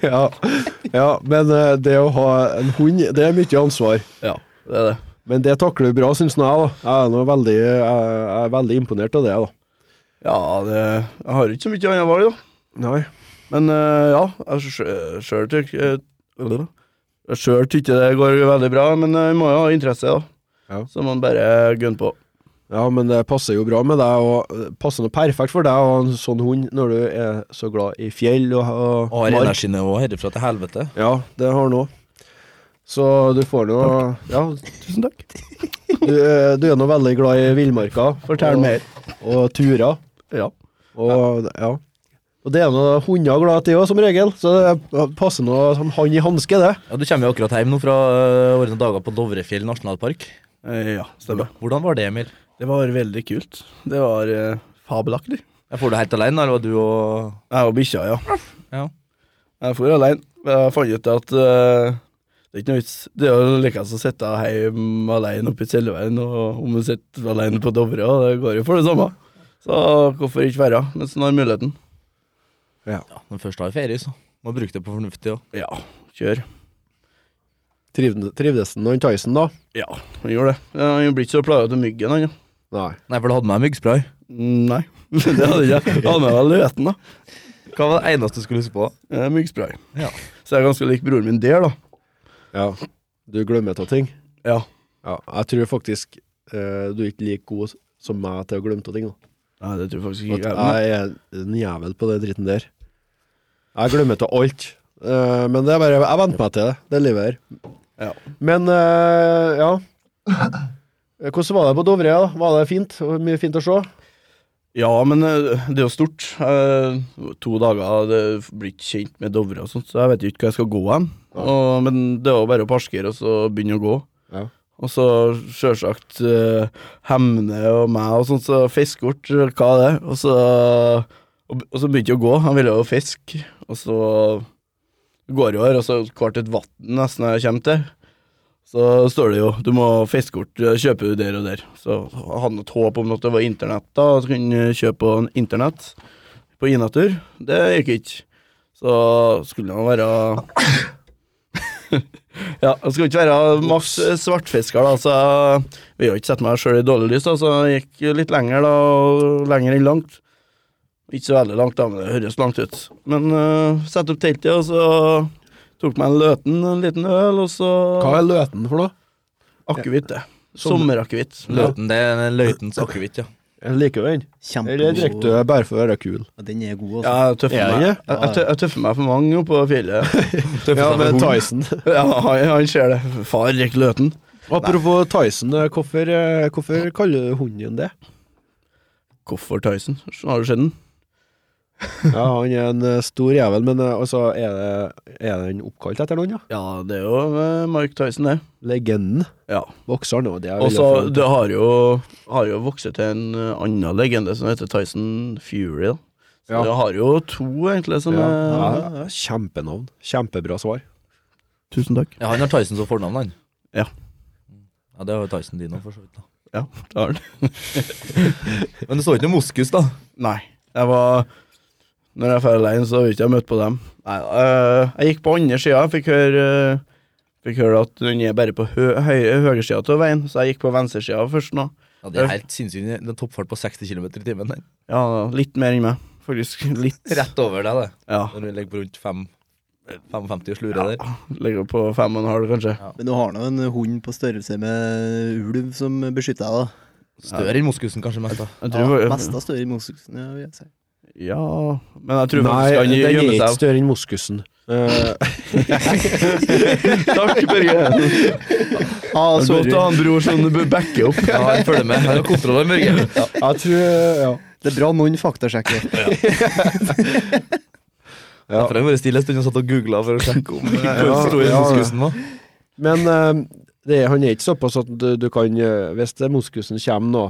Speaker 4: Ja, ja men eh, det å ha en hund, det er mye ansvar.
Speaker 7: Ja, det er det.
Speaker 4: Men det takler du bra, syns nå jeg. da. Jeg er, nå veldig, jeg jeg er veldig imponert av det. da.
Speaker 7: Ja, det, jeg har ikke så mye annet valg, da.
Speaker 4: Nei.
Speaker 7: Men eh, ja, jeg sjø- sjøl tyk- eh, Jeg sjøl tykker det går veldig bra, men jeg må jo ha interesse, da.
Speaker 4: Ja.
Speaker 7: Så man bare gunner på.
Speaker 4: Ja, men det passer jo bra med deg, og det passer noe perfekt for deg å ha en sånn hund når du er så glad i fjell og, og
Speaker 5: Har energinivået herifra til helvete.
Speaker 4: Ja, det har han òg. Så du får nå Ja,
Speaker 7: Tusen takk.
Speaker 4: du, er- du er nå veldig glad i villmarka. Fortell mer. Og turer.
Speaker 7: Ja.
Speaker 4: Og ja. Og det er nå hunder glad til òg, som regel, så det passer nå som hånd i hanske, det.
Speaker 5: Ja, Du kommer jo akkurat hjem nå fra øh, våre dager på Dovrefjell nasjonalpark.
Speaker 7: Eh, ja, stemmer.
Speaker 5: Hvordan var det, Emil?
Speaker 7: Det var veldig kult. Det var eh, fabelaktig.
Speaker 5: Jeg får du helt alene, eller var du og
Speaker 7: Jeg og bikkja, ja.
Speaker 5: Ja.
Speaker 7: Jeg for alene. Jeg fant ut at eh, Det er ikke noe vits. Det er jo likest å sitte hjemme alene oppe i Selveren, og om du sitter alene på Dovre, og det går jo for det samme. Så hvorfor ikke være mens en har muligheten?
Speaker 5: Ja, Når du først har ferie, så må du bruke det på fornuftig. Ja.
Speaker 7: Ja, kjør.
Speaker 4: Trivde- Trivdes han når Tyson, da?
Speaker 7: Ja, han gjorde det. Ja, Han blir ikke så plaga av myggen, han. ja.
Speaker 4: Nei.
Speaker 5: Nei, for du hadde med deg myggspray.
Speaker 7: Nei, det hadde jeg ikke. Jeg hadde med meg løten, da.
Speaker 5: Hva var det eneste du skulle huske på?
Speaker 7: Eh, Myggspray.
Speaker 5: Ja.
Speaker 7: Så jeg er ganske lik broren min der, da.
Speaker 4: Ja. Du glemmer av ting.
Speaker 7: Ja.
Speaker 4: Ja, jeg tror faktisk eh, du er ikke like god som meg til å glemme av ting. Da.
Speaker 7: Nei, det tror jeg faktisk
Speaker 4: At
Speaker 7: ikke. jeg er.
Speaker 4: jeg er en jævel på den dritten der. Jeg glemmer til alt. Eh, men det er bare, jeg venter meg til det, det livet her.
Speaker 7: Ja.
Speaker 4: Men eh, ja. Eh, Hvordan var det på Dovre? da? Var det fint? Det var Mye fint å se?
Speaker 7: Ja, men eh, det er jo stort. Eh, To dager det blir ikke kjent med Dovre og sånt, så jeg vet jo ikke hvor jeg skal gå hen. Og- Men det er jo bare å parkere og så begynne å gå.
Speaker 4: Ja.
Speaker 7: Og så sjølsagt eh, Hemne og meg og sånt, så fiskekort, hva er det? Og så, og, og så begynte jeg å gå, han ville jo fiske, og så går jeg her, og så kvart et vann nesten jeg kommer til. Så står det jo, du må ha fiskekort, eh, kjøper du der og der. Så jeg hadde et håp om at det var internett da, og så kunne jeg kjøpe på en internett på Inatur. Det gikk ikke. Så skulle det være ja, jeg skal ikke være masse svartfisker, da, så jeg vil jo ikke sette meg sjøl i dårlig lys, da, så jeg gikk litt lenger, da, og lenger enn langt. Ikke så veldig langt, da, men det høres langt ut. Men uh, sette opp teltet, og så tok meg en løten, en liten øl, og så
Speaker 4: Hva er løten for noe?
Speaker 7: akevitt, det. Sommerakevitt.
Speaker 5: Løten, det er en løytens akevitt, ja.
Speaker 4: Jeg liker den. Eller drikker du
Speaker 3: Kjempegod.
Speaker 4: bare for å være kul?
Speaker 3: Ja, Den er god,
Speaker 7: Ja,
Speaker 3: altså.
Speaker 7: jeg tøffer
Speaker 4: Er
Speaker 7: meg.
Speaker 4: jeg
Speaker 7: Jeg, jeg, tø- jeg tøffer meg for mange oppe på fjellet.
Speaker 4: Ja, men Tyson
Speaker 7: ja, han, han ser det. Far drikker løten.
Speaker 4: Apropos Tyson, eh, hvorfor, eh, hvorfor kaller du hunden din det?
Speaker 7: Hvorfor Tyson? Har du sett den?
Speaker 4: Ja, Han er en eh, stor jævel, men eh, altså, er, det, er den oppkalt etter noen? Ja?
Speaker 7: Ja, det er jo eh, Mark Tyson, det.
Speaker 4: Legenden.
Speaker 7: Ja.
Speaker 4: Bokseren og Altså, det er
Speaker 7: Og så
Speaker 4: veldig-
Speaker 7: det har jo, har jo vokst til en eh, annen legende som heter Tyson Fury. da. Så
Speaker 4: Ja.
Speaker 7: det har jo to, egentlig, som
Speaker 4: ja.
Speaker 7: er
Speaker 4: eh, Ja, ja, Kjempenavn. Kjempebra svar.
Speaker 7: Tusen takk.
Speaker 5: ja han har Tyson som fornavn, han.
Speaker 7: Ja.
Speaker 5: Ja, Det har jo Tyson din òg, for så vidt. da
Speaker 7: Ja, det har han.
Speaker 5: Men det står ikke noe moskus, da.
Speaker 7: Nei, jeg var Når jeg var alene, så har jeg ikke møtt på dem. Nei, eh, jeg gikk på andre sida, fikk høre eh, Fikk høre at den er bare på hø høyre, høyre sida av veien, så jeg gikk på venstre sida først nå.
Speaker 5: Ja, Det er helt sinnssykt. Det er en toppfart på 60 km i timen. den.
Speaker 7: Ja, litt mer enn meg. Faktisk litt.
Speaker 5: Rett over deg, det.
Speaker 7: Ja.
Speaker 5: Når du ligger på rundt fem- 55 og slurer der.
Speaker 7: Ligger på fem og en halv, kanskje.
Speaker 3: Men du har nå en hund på størrelse med ulv som beskytter deg, da.
Speaker 5: Større enn moskusen, kanskje mest. da
Speaker 7: Jeg tror,
Speaker 3: Ja, mest av større moskusen, ja, vil jeg si.
Speaker 7: ja, men jeg tror
Speaker 4: Nei,
Speaker 7: faktisk han
Speaker 4: den er
Speaker 7: gjemmer
Speaker 4: ikke
Speaker 7: seg.
Speaker 4: større enn moskusen. Eh,
Speaker 7: Takk, Børge.
Speaker 3: Ah,
Speaker 7: Så til han bror som du bør backe opp.
Speaker 5: Ja, jeg følger med. Han har kontroll over Mørge. Ja.
Speaker 4: Jeg tror Ja.
Speaker 3: Det er bra noen faktasjekker.
Speaker 5: Derfor har jeg vært stille en stund og satt og googla for å sjekke om hvor stor
Speaker 4: ja, ja.
Speaker 5: moskusen var.
Speaker 4: Men eh, det, er- han er ikke såpass at du, du kan eh, Hvis det moskusen kommer nå,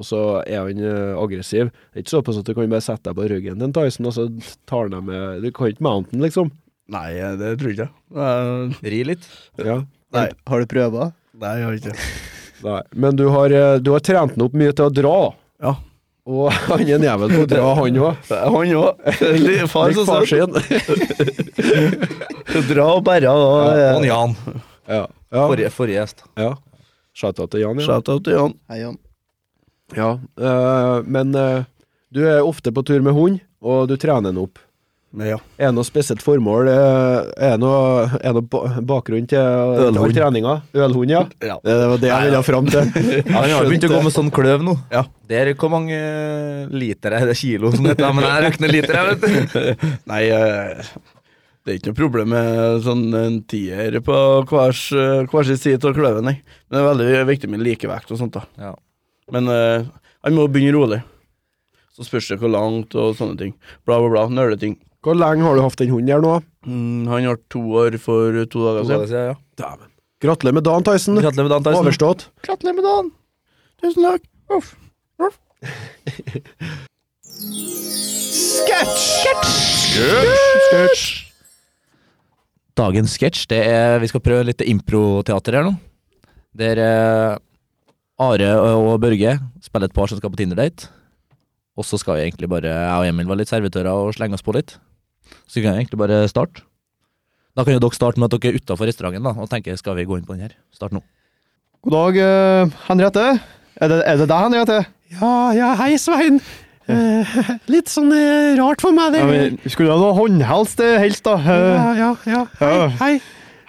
Speaker 4: og så er han eh, aggressiv Det er ikke såpass at du kan bare sette deg på ryggen til en Tyson, og så tar han deg med Du kan ikke mounten, liksom.
Speaker 7: Nei, det tror jeg ikke. Eh,
Speaker 5: Ri litt.
Speaker 4: Ja.
Speaker 7: Nei,
Speaker 3: Har du prøver?
Speaker 7: nei, jeg har ikke.
Speaker 4: Nei. Men du har, eh, du har trent han opp mye til å dra.
Speaker 7: Ja.
Speaker 4: Og han er en jævel på å dra, han òg.
Speaker 7: Han òg. Far
Speaker 4: Lik
Speaker 7: som
Speaker 4: far
Speaker 7: sa
Speaker 4: sin.
Speaker 7: dra og bære.
Speaker 5: Ja, og Jan,
Speaker 4: Ja. Ja.
Speaker 5: forrige, forrige gjest.
Speaker 4: ja. Shout-out til Jan, ja.
Speaker 7: Shout-out til Jan.
Speaker 3: Hei, Jan.
Speaker 4: Ja, øh, men øh, du er ofte på tur med hund, og du trener den opp.
Speaker 7: Ja.
Speaker 4: Er det noe spesielt formål? øh, Er det noe, er det noe ba- bakgrunn til til all
Speaker 7: Ølhund.
Speaker 4: treninga? Ølhund, ja.
Speaker 7: Ja.
Speaker 4: Det, det var det jeg ville fram til.
Speaker 5: Han har begynt å gå med sånn kløv nå.
Speaker 7: Ja.
Speaker 5: Det er hvor mange liter er det kilo som heter, men jeg røkner liter, jeg, vet du.
Speaker 7: Nei, eh, det er ikke noe problem med sånn en tier på hver, s- hver sin side av kløven, nei. Men det er veldig viktig med likevekt og sånt, da.
Speaker 5: Ja.
Speaker 7: Men eh, han må begynne rolig. Så spørs det hvor langt og sånne ting. Bla, bla, bla. Nøleting.
Speaker 4: Hvor lenge har du hatt den hunden her nå?
Speaker 7: Mm, han har to år for to dager
Speaker 5: Ja,
Speaker 7: siden.
Speaker 5: ja.
Speaker 4: Gratulerer med dagen, Tyson.
Speaker 5: Gratulerer med dagen, Tyson.
Speaker 4: Overstått.
Speaker 7: Gratulerer med dagen! Tusen takk. Uff.
Speaker 5: Dagens sketsj, det er Vi skal prøve litt improteater her nå. Der eh, Are og og Børge spiller et par som skal på Tinder-date. Og så skal vi egentlig bare Jeg og Emil var litt servitører og slenge oss på litt. Så vi kan egentlig bare starte. Da kan jo dere starte med at dere er utafor restauranten da, og tenker skal vi gå inn på den her. Start nå.
Speaker 3: God dag, eh, Henriette. Er det, er det deg, Henriette?
Speaker 2: Ja, ja, hei Svein. Eh, litt sånn eh, rart for meg, det.
Speaker 3: Ja, men skulle du ha noe håndhelst, eh, helst, da? Eh,
Speaker 2: ja, ja, ja. Hei,
Speaker 3: Ja.
Speaker 2: hei.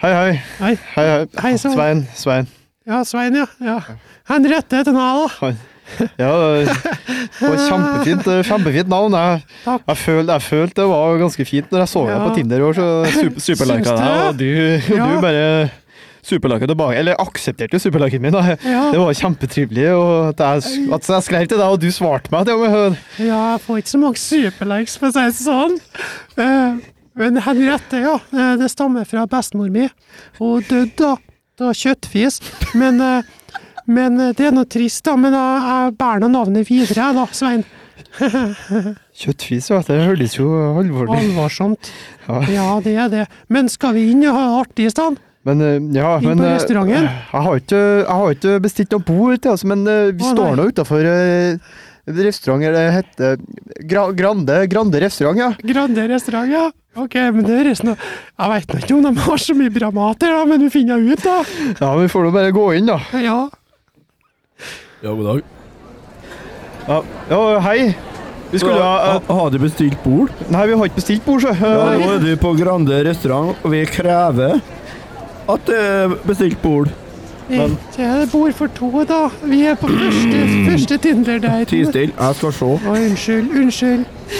Speaker 3: Hei, hei.
Speaker 2: Hei.
Speaker 3: Hei, hei.
Speaker 2: Hei, Svein.
Speaker 3: Svein. Svein.
Speaker 2: Ja, Svein, ja. ja. Henriette heter jeg, da.
Speaker 3: Ja, eh, det var kjempefint, eh, kjempefint navn. Jeg,
Speaker 2: Takk.
Speaker 3: jeg, følte, jeg følte det var ganske fint når jeg så deg
Speaker 2: Ja.
Speaker 3: på Tinder i år, så super, superlika
Speaker 2: Syns du
Speaker 3: deg, og du, og
Speaker 2: Ja.
Speaker 3: du bare superlika tilbake. Eller aksepterte jo superliken min, da.
Speaker 2: Ja.
Speaker 3: Det var kjempetrivelig. Og at jeg, at jeg skrev til deg, og du svarte meg. til og med.
Speaker 2: Ja, jeg får ikke så mange superlikes, for å si det sånn. Eh, Men Henriette, ja. eh, Det stammer fra bestemor mi. Hun døde da, da kjøttfis. Men, eh, men eh, det er noe trist, da. Men jeg, jeg bærer nå navnet videre, jeg da, Svein.
Speaker 3: Kjøttfis, vet du. Det høres jo alvorlig ut.
Speaker 2: Alvorsomt.
Speaker 3: Ja.
Speaker 2: Ja, det er det. Men skal vi inn og ha det artig i stedet?
Speaker 3: Men eh, ja,
Speaker 2: Inn på
Speaker 3: men eh,
Speaker 2: restauranten?
Speaker 3: Jeg har ikke, jeg har ikke bestilt noe bord til oss, men eh, vi
Speaker 2: Å,
Speaker 3: står
Speaker 2: nei.
Speaker 3: nå utafor restauranten Det heter Gra Grande, Grande restaurant, ja.
Speaker 2: Grande restaurant, ja. Ok, men det høres nå Jeg veit nå ikke om de har så mye bra mat her, da, men vi finner ut, da.
Speaker 3: Ja, Vi får nå bare gå inn, da.
Speaker 2: Ja.
Speaker 7: Ja, god dag.
Speaker 3: Ja, ja hei. Vi skulle ha eh,
Speaker 7: eh, Ha- Har du bestilt bord?
Speaker 3: Nei, vi har ikke bestilt bord, så.
Speaker 7: Ja,
Speaker 3: eh,
Speaker 7: nå er du på Grande restaurant, og vi krever at det er bestilt bord.
Speaker 2: Ikke bord for to, da. Vi er på første, første
Speaker 7: Ti
Speaker 2: Tinder-date.
Speaker 7: stille, jeg skal se.
Speaker 2: Å, unnskyld, unnskyld.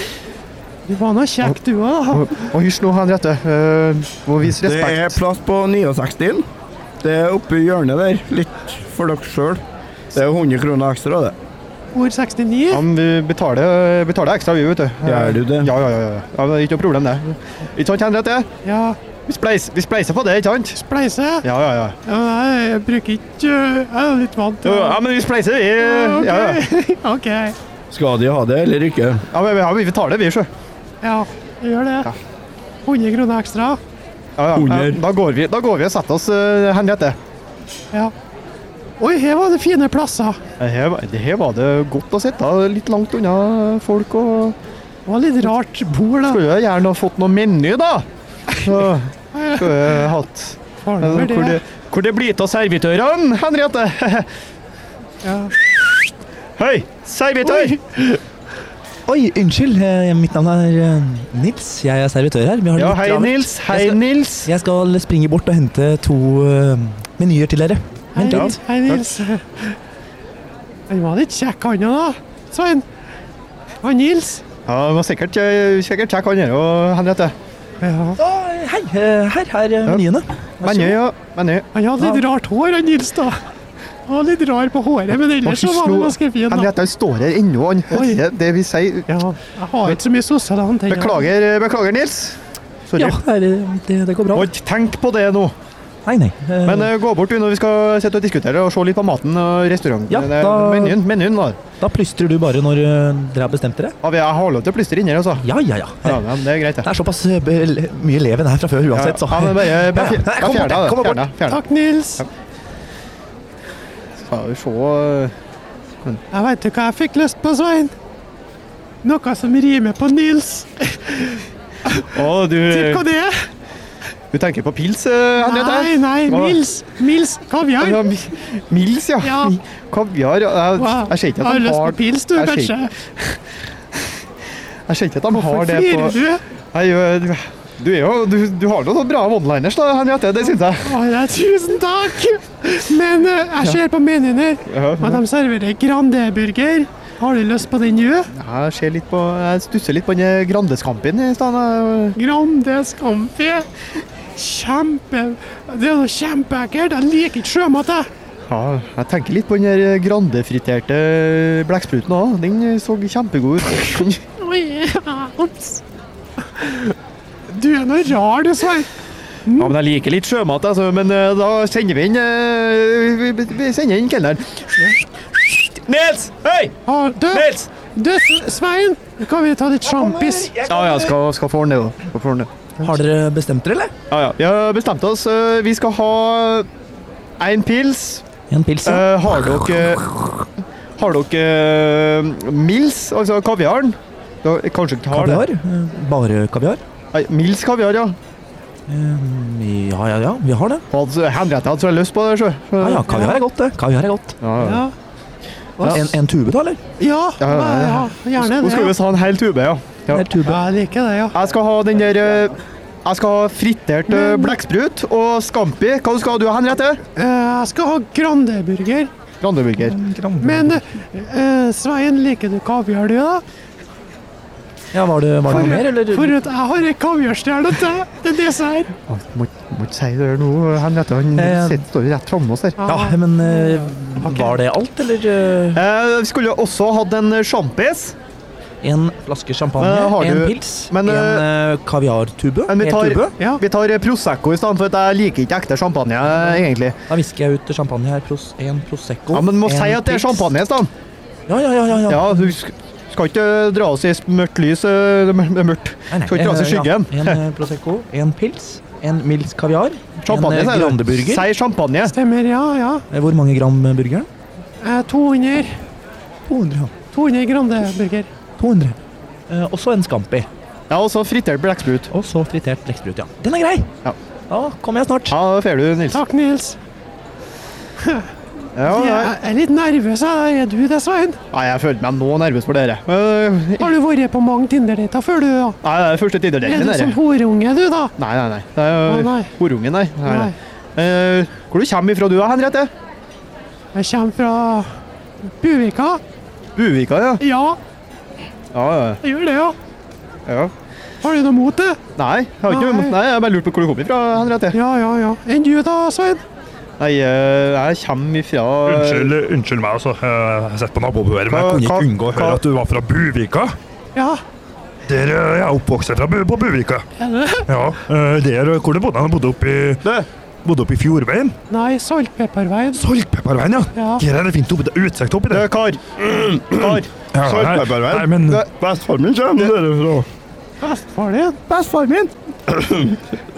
Speaker 2: Du var nå kjekk, du òg, da.
Speaker 3: og- Og hysj nå, Henriette. eh, må vise
Speaker 7: Det er
Speaker 3: respekt.
Speaker 7: plass på 69. Det er oppe i hjørnet der, litt for dere sjøl. Det er 100 kroner ekstra, det.
Speaker 2: Bord 69.
Speaker 3: Ja, men vi betaler, betaler ekstra, vi, vet du.
Speaker 7: Gjør du det?
Speaker 3: Ja, ja, ja. ja. ja men ikke noe problem, det. Ikke sant, Henriette?
Speaker 2: Ja.
Speaker 3: Vi spleiser, vi spleiser på det, ikke sant?
Speaker 2: Spleise?
Speaker 3: Ja, ja, ja.
Speaker 2: Ja, nei, jeg bruker ikke Jeg er litt vant
Speaker 3: Jo,
Speaker 2: til
Speaker 3: Ja, men vi spleiser, vi.
Speaker 2: Ja,
Speaker 3: Ja, ja.
Speaker 2: OK. Ok.
Speaker 7: Skal de ha det eller ikke?
Speaker 3: Ja, men, ja, vi betaler, vi, sjø.
Speaker 2: Ja, jeg gjør det. 100 kroner ekstra.
Speaker 3: Ja, ja.
Speaker 7: Under.
Speaker 3: ja, Da går vi, da går vi og setter oss, eh, Henriette.
Speaker 2: Ja. Oi, her var det fine plasser.
Speaker 3: Det her, var- det her var det godt å sitte litt langt unna folk. og
Speaker 2: Det var litt rart bord, da.
Speaker 3: Skulle jeg gjerne ha fått noe meny, da. Så skulle jeg hatt
Speaker 2: Faen,
Speaker 3: Hvor
Speaker 2: for det.
Speaker 3: det, hvor det blir av servitørene, Henriette?
Speaker 2: Ja.
Speaker 3: Hei, servitør!
Speaker 2: Oi.
Speaker 5: Oi, unnskyld. eh, Mitt navn er eh, Nils. Jeg er servitør her. Vi har
Speaker 3: Ja,
Speaker 5: litt
Speaker 3: hei,
Speaker 5: travelt.
Speaker 3: Nils. Hei,
Speaker 5: Jeg skal-
Speaker 3: Nils.
Speaker 5: Jeg skal springe bort og hente to eh, menyer til dere.
Speaker 2: Hei,
Speaker 5: Vent
Speaker 3: Ja.
Speaker 5: litt.
Speaker 2: Nils. Hei, Nils. Han var litt kjekk, han òg, da. Svein. Han Nils.
Speaker 3: Ja, det var sikkert, eh, sikkert kjekk, han her og Henriette.
Speaker 2: Ja.
Speaker 5: Å, hei, eh, her er eh, menyene. Vær så
Speaker 3: Meny, ja. Meny.
Speaker 2: Han hadde litt rart hår, han Nils, da. Han var litt rar på håret, men ellers så var han ganske fin. da.
Speaker 3: Henriette han står her ennå, han
Speaker 2: Oi.
Speaker 3: hører det vi sier.
Speaker 2: Ja, jeg har ikke så mye sosiale antenner.
Speaker 3: Beklager, eh, beklager Nils.
Speaker 5: god.
Speaker 3: Sorry.
Speaker 5: Ja, det, er, eh, det, det går bra.
Speaker 3: Må ikke tenke på det nå.
Speaker 5: Nei, nei. eh,
Speaker 3: Men eh, gå bort du når vi skal sitte og diskutere og se litt på maten og restauranten.
Speaker 5: Ja,
Speaker 3: Nei,
Speaker 5: da-
Speaker 3: Menyen, menyen da.
Speaker 5: da plystrer du bare når eh, dere har bestemt dere.
Speaker 3: Ja, vi- jeg har lov til å plystre inni her, altså.
Speaker 5: Ja, ja, ja.
Speaker 3: Ja, men det er greit,
Speaker 5: Det
Speaker 3: det.
Speaker 5: er såpass eh, be- mye leven her fra før
Speaker 3: Ja,
Speaker 5: uansett, så
Speaker 3: ja, men bare, bare fjer-
Speaker 5: Nei,
Speaker 3: bare
Speaker 5: kom bort,
Speaker 3: fjerne det.
Speaker 5: kom bort.
Speaker 3: Fjerne, fjerne.
Speaker 2: Takk, Nils.
Speaker 3: Skal vi se eh,
Speaker 2: Jeg veit du hva jeg fikk lyst på, Svein? Noe som rimer på Nils.
Speaker 3: Å,
Speaker 2: Tipp hva
Speaker 3: du,
Speaker 2: det er.
Speaker 3: du tenker på pils, eh,
Speaker 2: Nei,
Speaker 3: Henriette?
Speaker 2: nei,
Speaker 3: Hva?
Speaker 2: Mils. Mils kaviar.
Speaker 3: Ja, mi- Mils, ja.
Speaker 2: Ja.
Speaker 3: Mi- Kaviar. ja. Jeg,
Speaker 2: Wow.
Speaker 3: jeg ser ikke
Speaker 2: Har
Speaker 3: at
Speaker 2: du
Speaker 3: de
Speaker 2: lyst på
Speaker 3: har
Speaker 2: pils, du,
Speaker 3: jeg ser
Speaker 2: kanskje?
Speaker 3: Jeg ser ikke at de har
Speaker 2: Hvorfor
Speaker 3: det på
Speaker 2: flirer du?
Speaker 3: Nei, eh, du, er jo, du, du har noen bra one-liners, da, Henriette. Det syns jeg.
Speaker 2: Å, nei, tusen takk! Men eh, jeg ser på menyen her
Speaker 3: Ja,
Speaker 2: at de serverer Grande-burger. Har du lyst på den nå?
Speaker 3: Jeg, ser litt på, jeg stusser litt på den eh, Grandeskampen i stedet.
Speaker 2: Grande Scampi. Kjempe... Det er noe kjempeekkelt. Jeg liker ikke sjømat, jeg.
Speaker 3: Ja, jeg tenker litt på den der eh, Grande-friterte eh, blekkspruten òg. Den eh, så kjempegod ut.
Speaker 2: Oi, ja, Ops. Du er noe rar, du, Svein.
Speaker 3: Ja, men jeg liker litt sjømat, altså. Men eh, da sender vi inn eh, vi- vi- Vi sender inn kelneren. Nils! Hei!
Speaker 2: Har- Du,
Speaker 3: Nils!
Speaker 2: du, Svein, kan vi ta litt sjampis?
Speaker 3: Ja, jeg skal, skal få ordne det. da. Skal få ordne det.
Speaker 5: Har dere bestemt dere, eller?
Speaker 3: Ja, ja. Vi har bestemt oss. Eh, Vi skal ha én pils.
Speaker 5: En pils, ja.
Speaker 3: Eh, har dere Har dere eh, Mils, altså kaviaren? Da, kanskje dere har
Speaker 5: Kaviar? Eh, Bare kaviar?
Speaker 3: det? Nei, Mils kaviar, ja.
Speaker 5: Eh, Ja, ja, ja. Vi har det.
Speaker 3: Altså, Henriette hadde så lyst på det. sjø.
Speaker 5: Ja, ja, kaviar er godt, det. Kaviar er godt.
Speaker 3: Ja, ja.
Speaker 5: En, en tube, da, eller?
Speaker 2: Ja,
Speaker 3: Ja, ja, ja.
Speaker 2: ja, gjerne
Speaker 3: Hun
Speaker 2: det.
Speaker 3: skal
Speaker 2: Ja.
Speaker 3: visst ha en hel tube, ja. Ja.
Speaker 5: En tube.
Speaker 2: Jeg liker det, ja.
Speaker 3: Jeg skal ha den der eh, Jeg skal ha fritert eh, blekksprut og Scampi. Hva skal du ha, Henriette?
Speaker 2: Eh, Jeg skal ha Grandeburger.
Speaker 3: Grandeburger.
Speaker 2: Men eh, eh, Svein, liker du kaviar, du, da?
Speaker 5: Ja, var det, var det noe mer, eller?
Speaker 2: For at jeg har en kaviarstjerne til til dessert.
Speaker 3: Må ikke si det nå, Henriette. Han
Speaker 5: Eh, sitter-
Speaker 3: står rett framme oss her.
Speaker 5: Ja, men eh, var det alt, eller? eh,
Speaker 3: vi skulle jo også hatt en sjampis.
Speaker 5: En flaske champagne,
Speaker 3: Eh, har
Speaker 5: en
Speaker 3: du-
Speaker 5: pils,
Speaker 3: men,
Speaker 5: en
Speaker 3: eh,
Speaker 5: eh, kaviartube,
Speaker 3: Men vi
Speaker 5: en
Speaker 3: tar,
Speaker 5: tube.
Speaker 2: Ja.
Speaker 3: vi tar eh, Prosecco i stedet, for at jeg liker ikke ekte champagne, eh, egentlig.
Speaker 5: Da visker jeg ut champagne her. Pros, en Prosecco.
Speaker 3: Ja, Men må
Speaker 5: Oh, en
Speaker 3: si at det er
Speaker 5: pils.
Speaker 3: champagne i stedet.
Speaker 5: Ja, ja, ja. ja, ja.
Speaker 3: Ja, du sk- skal ikke eh, dra oss i s- mørkt lys. eh, Det er mørkt.
Speaker 5: Nei, nei,
Speaker 3: skal ikke dra oss i
Speaker 5: eh,
Speaker 3: skyggen.
Speaker 5: Ja. En eh, Prosecco, en pils, en Mils kaviar,
Speaker 3: Champagne,
Speaker 5: en eh,
Speaker 3: sier du.
Speaker 5: Grandeburger.
Speaker 3: Si champagne.
Speaker 2: Stemmer, ja, ja.
Speaker 5: Eh, Hvor mange gram eh, burgeren?
Speaker 2: Eh, 200.
Speaker 5: 200. ja.
Speaker 2: 200 Grandeburger.
Speaker 5: 200. Eh, og så en Scampi.
Speaker 3: Ja, og så fritert blekksprut.
Speaker 5: Og så fritert blekksprut, ja. Den er grei!
Speaker 3: Ja.
Speaker 5: Da kommer jeg snart.
Speaker 3: Ja, det får du, Nils.
Speaker 2: Takk, Nils.
Speaker 3: Ja, ja.
Speaker 2: Jeg er litt nervøs, jeg. er du det, Svein?
Speaker 3: Nei, jeg følte meg nå nervøs for dere. Men, eh,
Speaker 2: Har du vært på mange Tinder-dater før, du? da?
Speaker 3: Nei, det er første
Speaker 2: Er
Speaker 3: Tinder-daten
Speaker 2: du
Speaker 3: dere.
Speaker 2: sånn horunge, du, da?
Speaker 3: Nei, nei, nei. Det er
Speaker 2: Å,
Speaker 3: jo
Speaker 2: nei.
Speaker 3: horungen, nei. nei. nei.
Speaker 2: Nei.
Speaker 3: Eh, hvor du kommer ifra du, da, Henriette?
Speaker 2: Jeg kommer fra Buvika.
Speaker 3: Buvika, ja.
Speaker 2: Ja,
Speaker 3: Ja, ja,
Speaker 2: jeg gjør det, ja.
Speaker 3: ja.
Speaker 2: Har du noe mot det?
Speaker 3: Nei, jeg har ikke
Speaker 2: Nei.
Speaker 3: nei, jeg har bare lurt på hvor du kom ifra, Henriette.
Speaker 2: Ja, ja, ja. Enn du da, Svein?
Speaker 3: Nei, eh, jeg kommer ifra
Speaker 8: Unnskyld, unnskyld meg, altså. Jeg har sett på nabobuer, men jeg
Speaker 3: Eh, Hva-
Speaker 8: kunne
Speaker 3: hva-
Speaker 8: ikke unngå å høre
Speaker 3: hva-
Speaker 8: at du var fra Buvika.
Speaker 2: Ja,
Speaker 8: Der eh, jeg er oppvokst fra Bu- på Buvika.
Speaker 2: er du det?
Speaker 8: Ja, eh, der eh, hvor du bodde? Jeg bodde oppe i,
Speaker 3: Du!
Speaker 8: bodde oppe i Fjordveien.
Speaker 2: Nei, Saltpepperveien.
Speaker 8: Saltpepperveien, ja.
Speaker 2: Ja.
Speaker 8: Der er det fint oppe, det er utsikt oppi
Speaker 3: Du,
Speaker 8: der.
Speaker 3: kar. Kar.
Speaker 8: Ja, nei,
Speaker 1: Saltpepperveien?
Speaker 8: Nei, men
Speaker 1: Bestefaren min kommer derfra.
Speaker 2: Bestefaren din. Bestefaren min.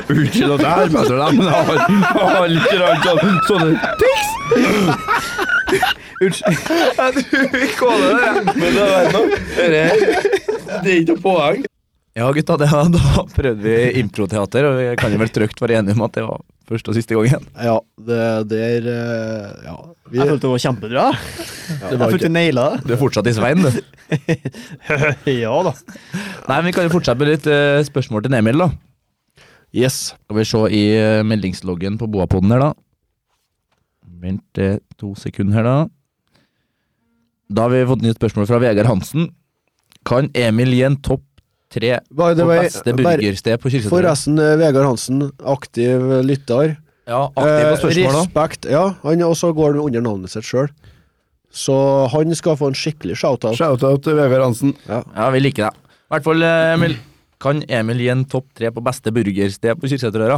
Speaker 7: Unnskyld at jeg har med deg, men jeg har, jeg har litt grann sånn, sånne tics. Unnskyld. Jeg tror vi kåler det. Men det er noe. Det er ikke noe poeng.
Speaker 5: Ja, gutta, det, var- da prøvde vi improteater, og vi kan jo vel trygt være enige om at det var første og siste gangen.
Speaker 4: Ja, det der eh, Ja. Vi,
Speaker 3: Jeg følte det var kjempebra. Jeg
Speaker 7: var
Speaker 3: følte jeg naila det.
Speaker 5: Du er fortsatt i Svein, du.
Speaker 3: Ja da.
Speaker 5: Nei, men vi kan jo fortsette med litt eh, spørsmål til Emil, da.
Speaker 4: yes.
Speaker 5: Skal vi se i eh, meldingsloggen på Boapodden her, da. Vent eh, to sekunder her, da. Da har vi fått nytt spørsmål fra Vegard Hansen. Kan Emil gi en topp tre
Speaker 4: By the
Speaker 5: på
Speaker 4: way,
Speaker 5: beste
Speaker 4: bare-
Speaker 5: burgersted på Kirkenes?
Speaker 4: forresten, eh, Vegard Hansen, aktiv eh, lytter.
Speaker 5: Ja, aktiv på
Speaker 4: Eh,
Speaker 5: spørsmål, da.
Speaker 4: Respekt. Ja, han også går han under navnet sitt sjøl. Så han skal få en skikkelig shout-out.
Speaker 7: Shout-out til Vegard Hansen.
Speaker 5: Ja, vi liker deg. I hvert fall, eh, Emil. Kan Emil gi en topp tre på beste burgersted på Kirkeseterøra?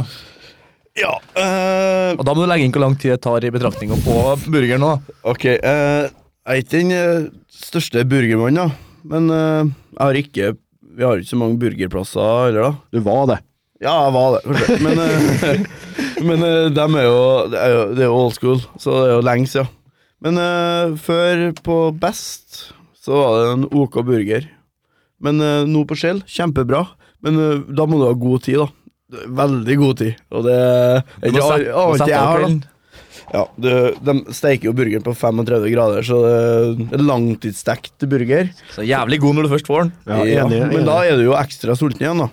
Speaker 7: Ja, eh,
Speaker 5: Og da må du legge inn hvor lang tid det tar i betraktninga på burgeren nå. da.
Speaker 7: ok. eh, jeg er ikke den eh, største burgermannen, da. Men eh, jeg har ikke Vi har ikke så mange burgerplasser heller, da.
Speaker 4: Du var det.
Speaker 7: Ja, jeg var det, kanskje. Men, eh, men eh, dem er jo, det er jo Det er jo old school, så det er jo lenge siden. Men eh, før på Best så var det en OK burger. Men eh, nå på Skjell, kjempebra. Men eh, da må du ha god tid, da. Veldig god tid. Og det er
Speaker 5: Du må
Speaker 7: ikke
Speaker 5: sette- må
Speaker 7: alt
Speaker 5: sette
Speaker 7: jeg
Speaker 5: av
Speaker 7: har, da.
Speaker 5: kvelden.
Speaker 7: Ja, det, De steiker jo burgeren på 35 grader, så det er en langtidsstekt burger.
Speaker 5: Så jævlig god når du først får den.
Speaker 4: Ja,
Speaker 7: Ja,
Speaker 4: enig, enig.
Speaker 7: Men da er du jo ekstra sulten igjen, da.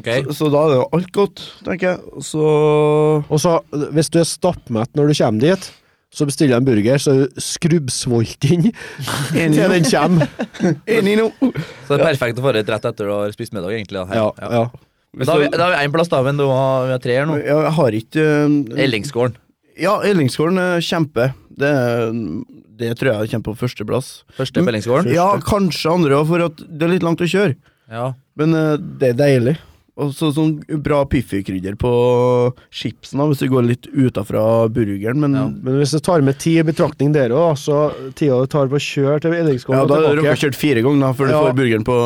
Speaker 5: Ok.
Speaker 7: Så, så da er det jo alt godt, tenker jeg. Så
Speaker 4: Og så, eh, hvis du er stappmett når du kommer dit, så bestiller jeg en burger, så er du skrubbsulten til den kommer.
Speaker 7: Enig nå.
Speaker 5: Så det er perfekt å få rett etter du har spist middag, egentlig. Da, her.
Speaker 4: Ja, ja.
Speaker 5: Men Da har vi- da har vi én plass, da, men du har, vi har tre her nå.
Speaker 7: Ja, Jeg har ikke eh,
Speaker 5: Ellingsgården.
Speaker 7: Ja, Ellingsgården eh, kjempe. Det, er- det tror jeg kommer på førsteplass.
Speaker 5: Første på Ellingsgården.
Speaker 7: Ja, kanskje andre òg, for at det er litt langt å kjøre.
Speaker 5: Ja.
Speaker 7: Men eh, det er deilig. Og så sånn bra piffikrydder på chipsen, da, hvis du går litt utafra burgeren, men ja.
Speaker 4: Men hvis du tar med tid i betraktning der òg, så tida du tar på å kjøre til Ellingskollen
Speaker 7: da
Speaker 4: og
Speaker 7: har du rukket
Speaker 4: tilbake
Speaker 7: kjørt fire ganger da, før du
Speaker 4: Ja.
Speaker 7: får burgeren på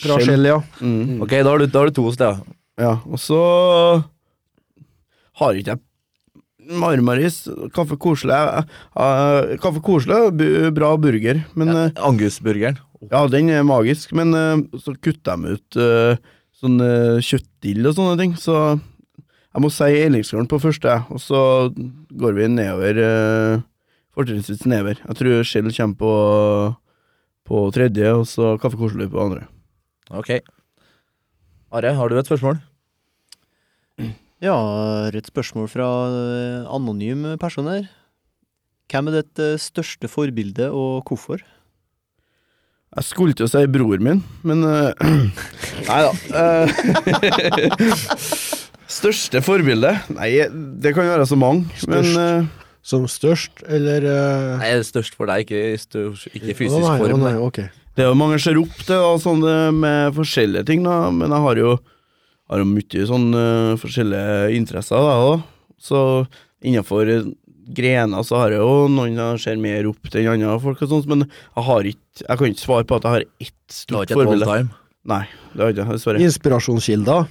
Speaker 4: fra
Speaker 7: skjell.
Speaker 4: Skjell, ja.
Speaker 7: Mm.
Speaker 5: Ok, da har du, da har du to steder.
Speaker 7: Ja, og så har ikke jeg Marmaris, kaffe koselig jeg- jeg- Kaffe koselig, bu- bra burger, men eh,
Speaker 2: Angusburgeren.
Speaker 7: Ja, den er magisk, men eh, så kutter de ut eh, sånn eh, kjøttdill og sånne ting, så jeg må si Ellingsgården på første, jeg, og så går vi nedover, eh, fortrinnsvis nedover. Jeg tror Shell kommer på, på tredje, og så Kaffe Korselig på andre.
Speaker 2: Ok. Are, har du et spørsmål?
Speaker 3: Ja, har et spørsmål fra eh, anonym person her. Hvem er ditt eh, største forbilde, og hvorfor?
Speaker 7: Jeg skulle til å si bror min, men eh, Nei da. eh, største forbilde? Nei, det kan være så mange, men
Speaker 4: Størst.
Speaker 7: eh,
Speaker 4: Som størst, eller eh,
Speaker 5: Nei, det er størst for deg, ikke, i stør- ikke i fysisk
Speaker 4: å nei, å
Speaker 5: form.
Speaker 4: nei,
Speaker 5: nei.
Speaker 4: ok.
Speaker 7: Det er jo mange ser opp til da, sånn det med forskjellige ting, da, men jeg har jo, har jo mye sånn eh, forskjellige interesser, da, også. Så innenfor eh, grener så har jeg jo noen jeg ser mer opp til enn andre folk og sånt, men jeg har ikke, jeg kan ikke svare på at jeg har ett
Speaker 5: Du har
Speaker 7: stort
Speaker 5: ikke et all
Speaker 7: forbilde.
Speaker 5: time.
Speaker 7: Nei, det har jeg ikke, dessverre.
Speaker 4: Inspirasjonskilder.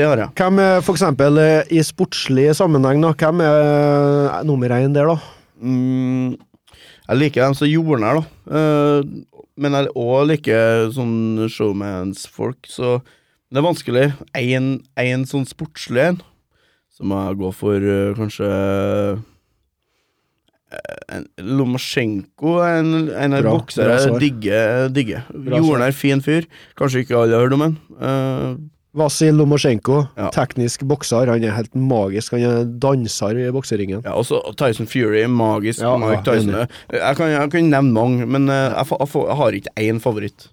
Speaker 7: Det har jeg.
Speaker 4: Hvem er for eksempel eh, i sportslig sammenheng, da? Hvem er eh, nummer én der, da?
Speaker 7: Mm, jeg liker dem som jordnær, da. Eh, men jeg òg liker sånn showmans-folk, så det er vanskelig. En, en sånn sportslig en, så må jeg gå for eh, kanskje eh, en- Lomosjenko er en, en av
Speaker 4: Bra,
Speaker 7: boksere
Speaker 4: bra
Speaker 7: jeg
Speaker 4: svar.
Speaker 7: digger. digger.
Speaker 4: Bra svar.
Speaker 7: Jordnær, fin fyr. Kanskje ikke alle har hørt om han. Eh,
Speaker 4: Vasil Lomosjenko.
Speaker 7: Ja.
Speaker 4: Teknisk bokser. Han er helt magisk. Han er danser i bokseringen.
Speaker 7: Ja, også Tyson Fury, magisk
Speaker 4: Ja,
Speaker 7: Mike
Speaker 4: ja,
Speaker 7: Tyson. Jeg kan, jeg kan nevne mange, men eh, jeg, fa- jeg, fa- jeg har ikke én favoritt.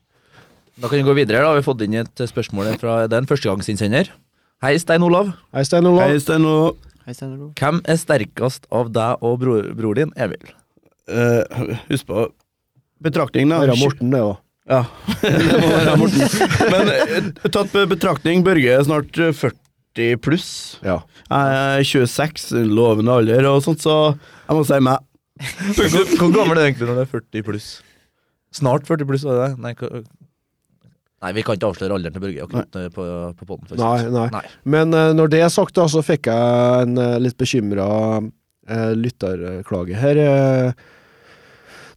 Speaker 2: Da kan vi gå videre. da Vi har fått inn et spørsmål fra den førstegangsinnsender. Hei, Stein Olav.
Speaker 4: Hei, Stein Olav.
Speaker 7: Hei, Stein og
Speaker 3: Hei, Steinar Olav.
Speaker 2: Hvem er sterkest av deg og bror, bror din, Emil?
Speaker 7: Eh, husk på betraktning, da.
Speaker 4: Vera Morten, det òg.
Speaker 7: Ja. det må være Morten. Men eh, tatt på betraktning, Børge er snart eh, 40 pluss.
Speaker 4: Ja.
Speaker 7: Jeg er 26, lovende alder og sånt, så jeg må si meg.
Speaker 2: Hvor, hvor gammel er du egentlig når du er 40 pluss? Snart 40 pluss, var det det? Nei, hva- Nei, vi kan ikke avsløre alderen til Børge akkurat eh, på, på podden. for å si
Speaker 4: Nei,
Speaker 2: det
Speaker 4: nei.
Speaker 2: sånn. nei.
Speaker 4: Men eh, når det er sagt, da, så fikk jeg en eh, litt bekymra eh, lytterklage her. Eh,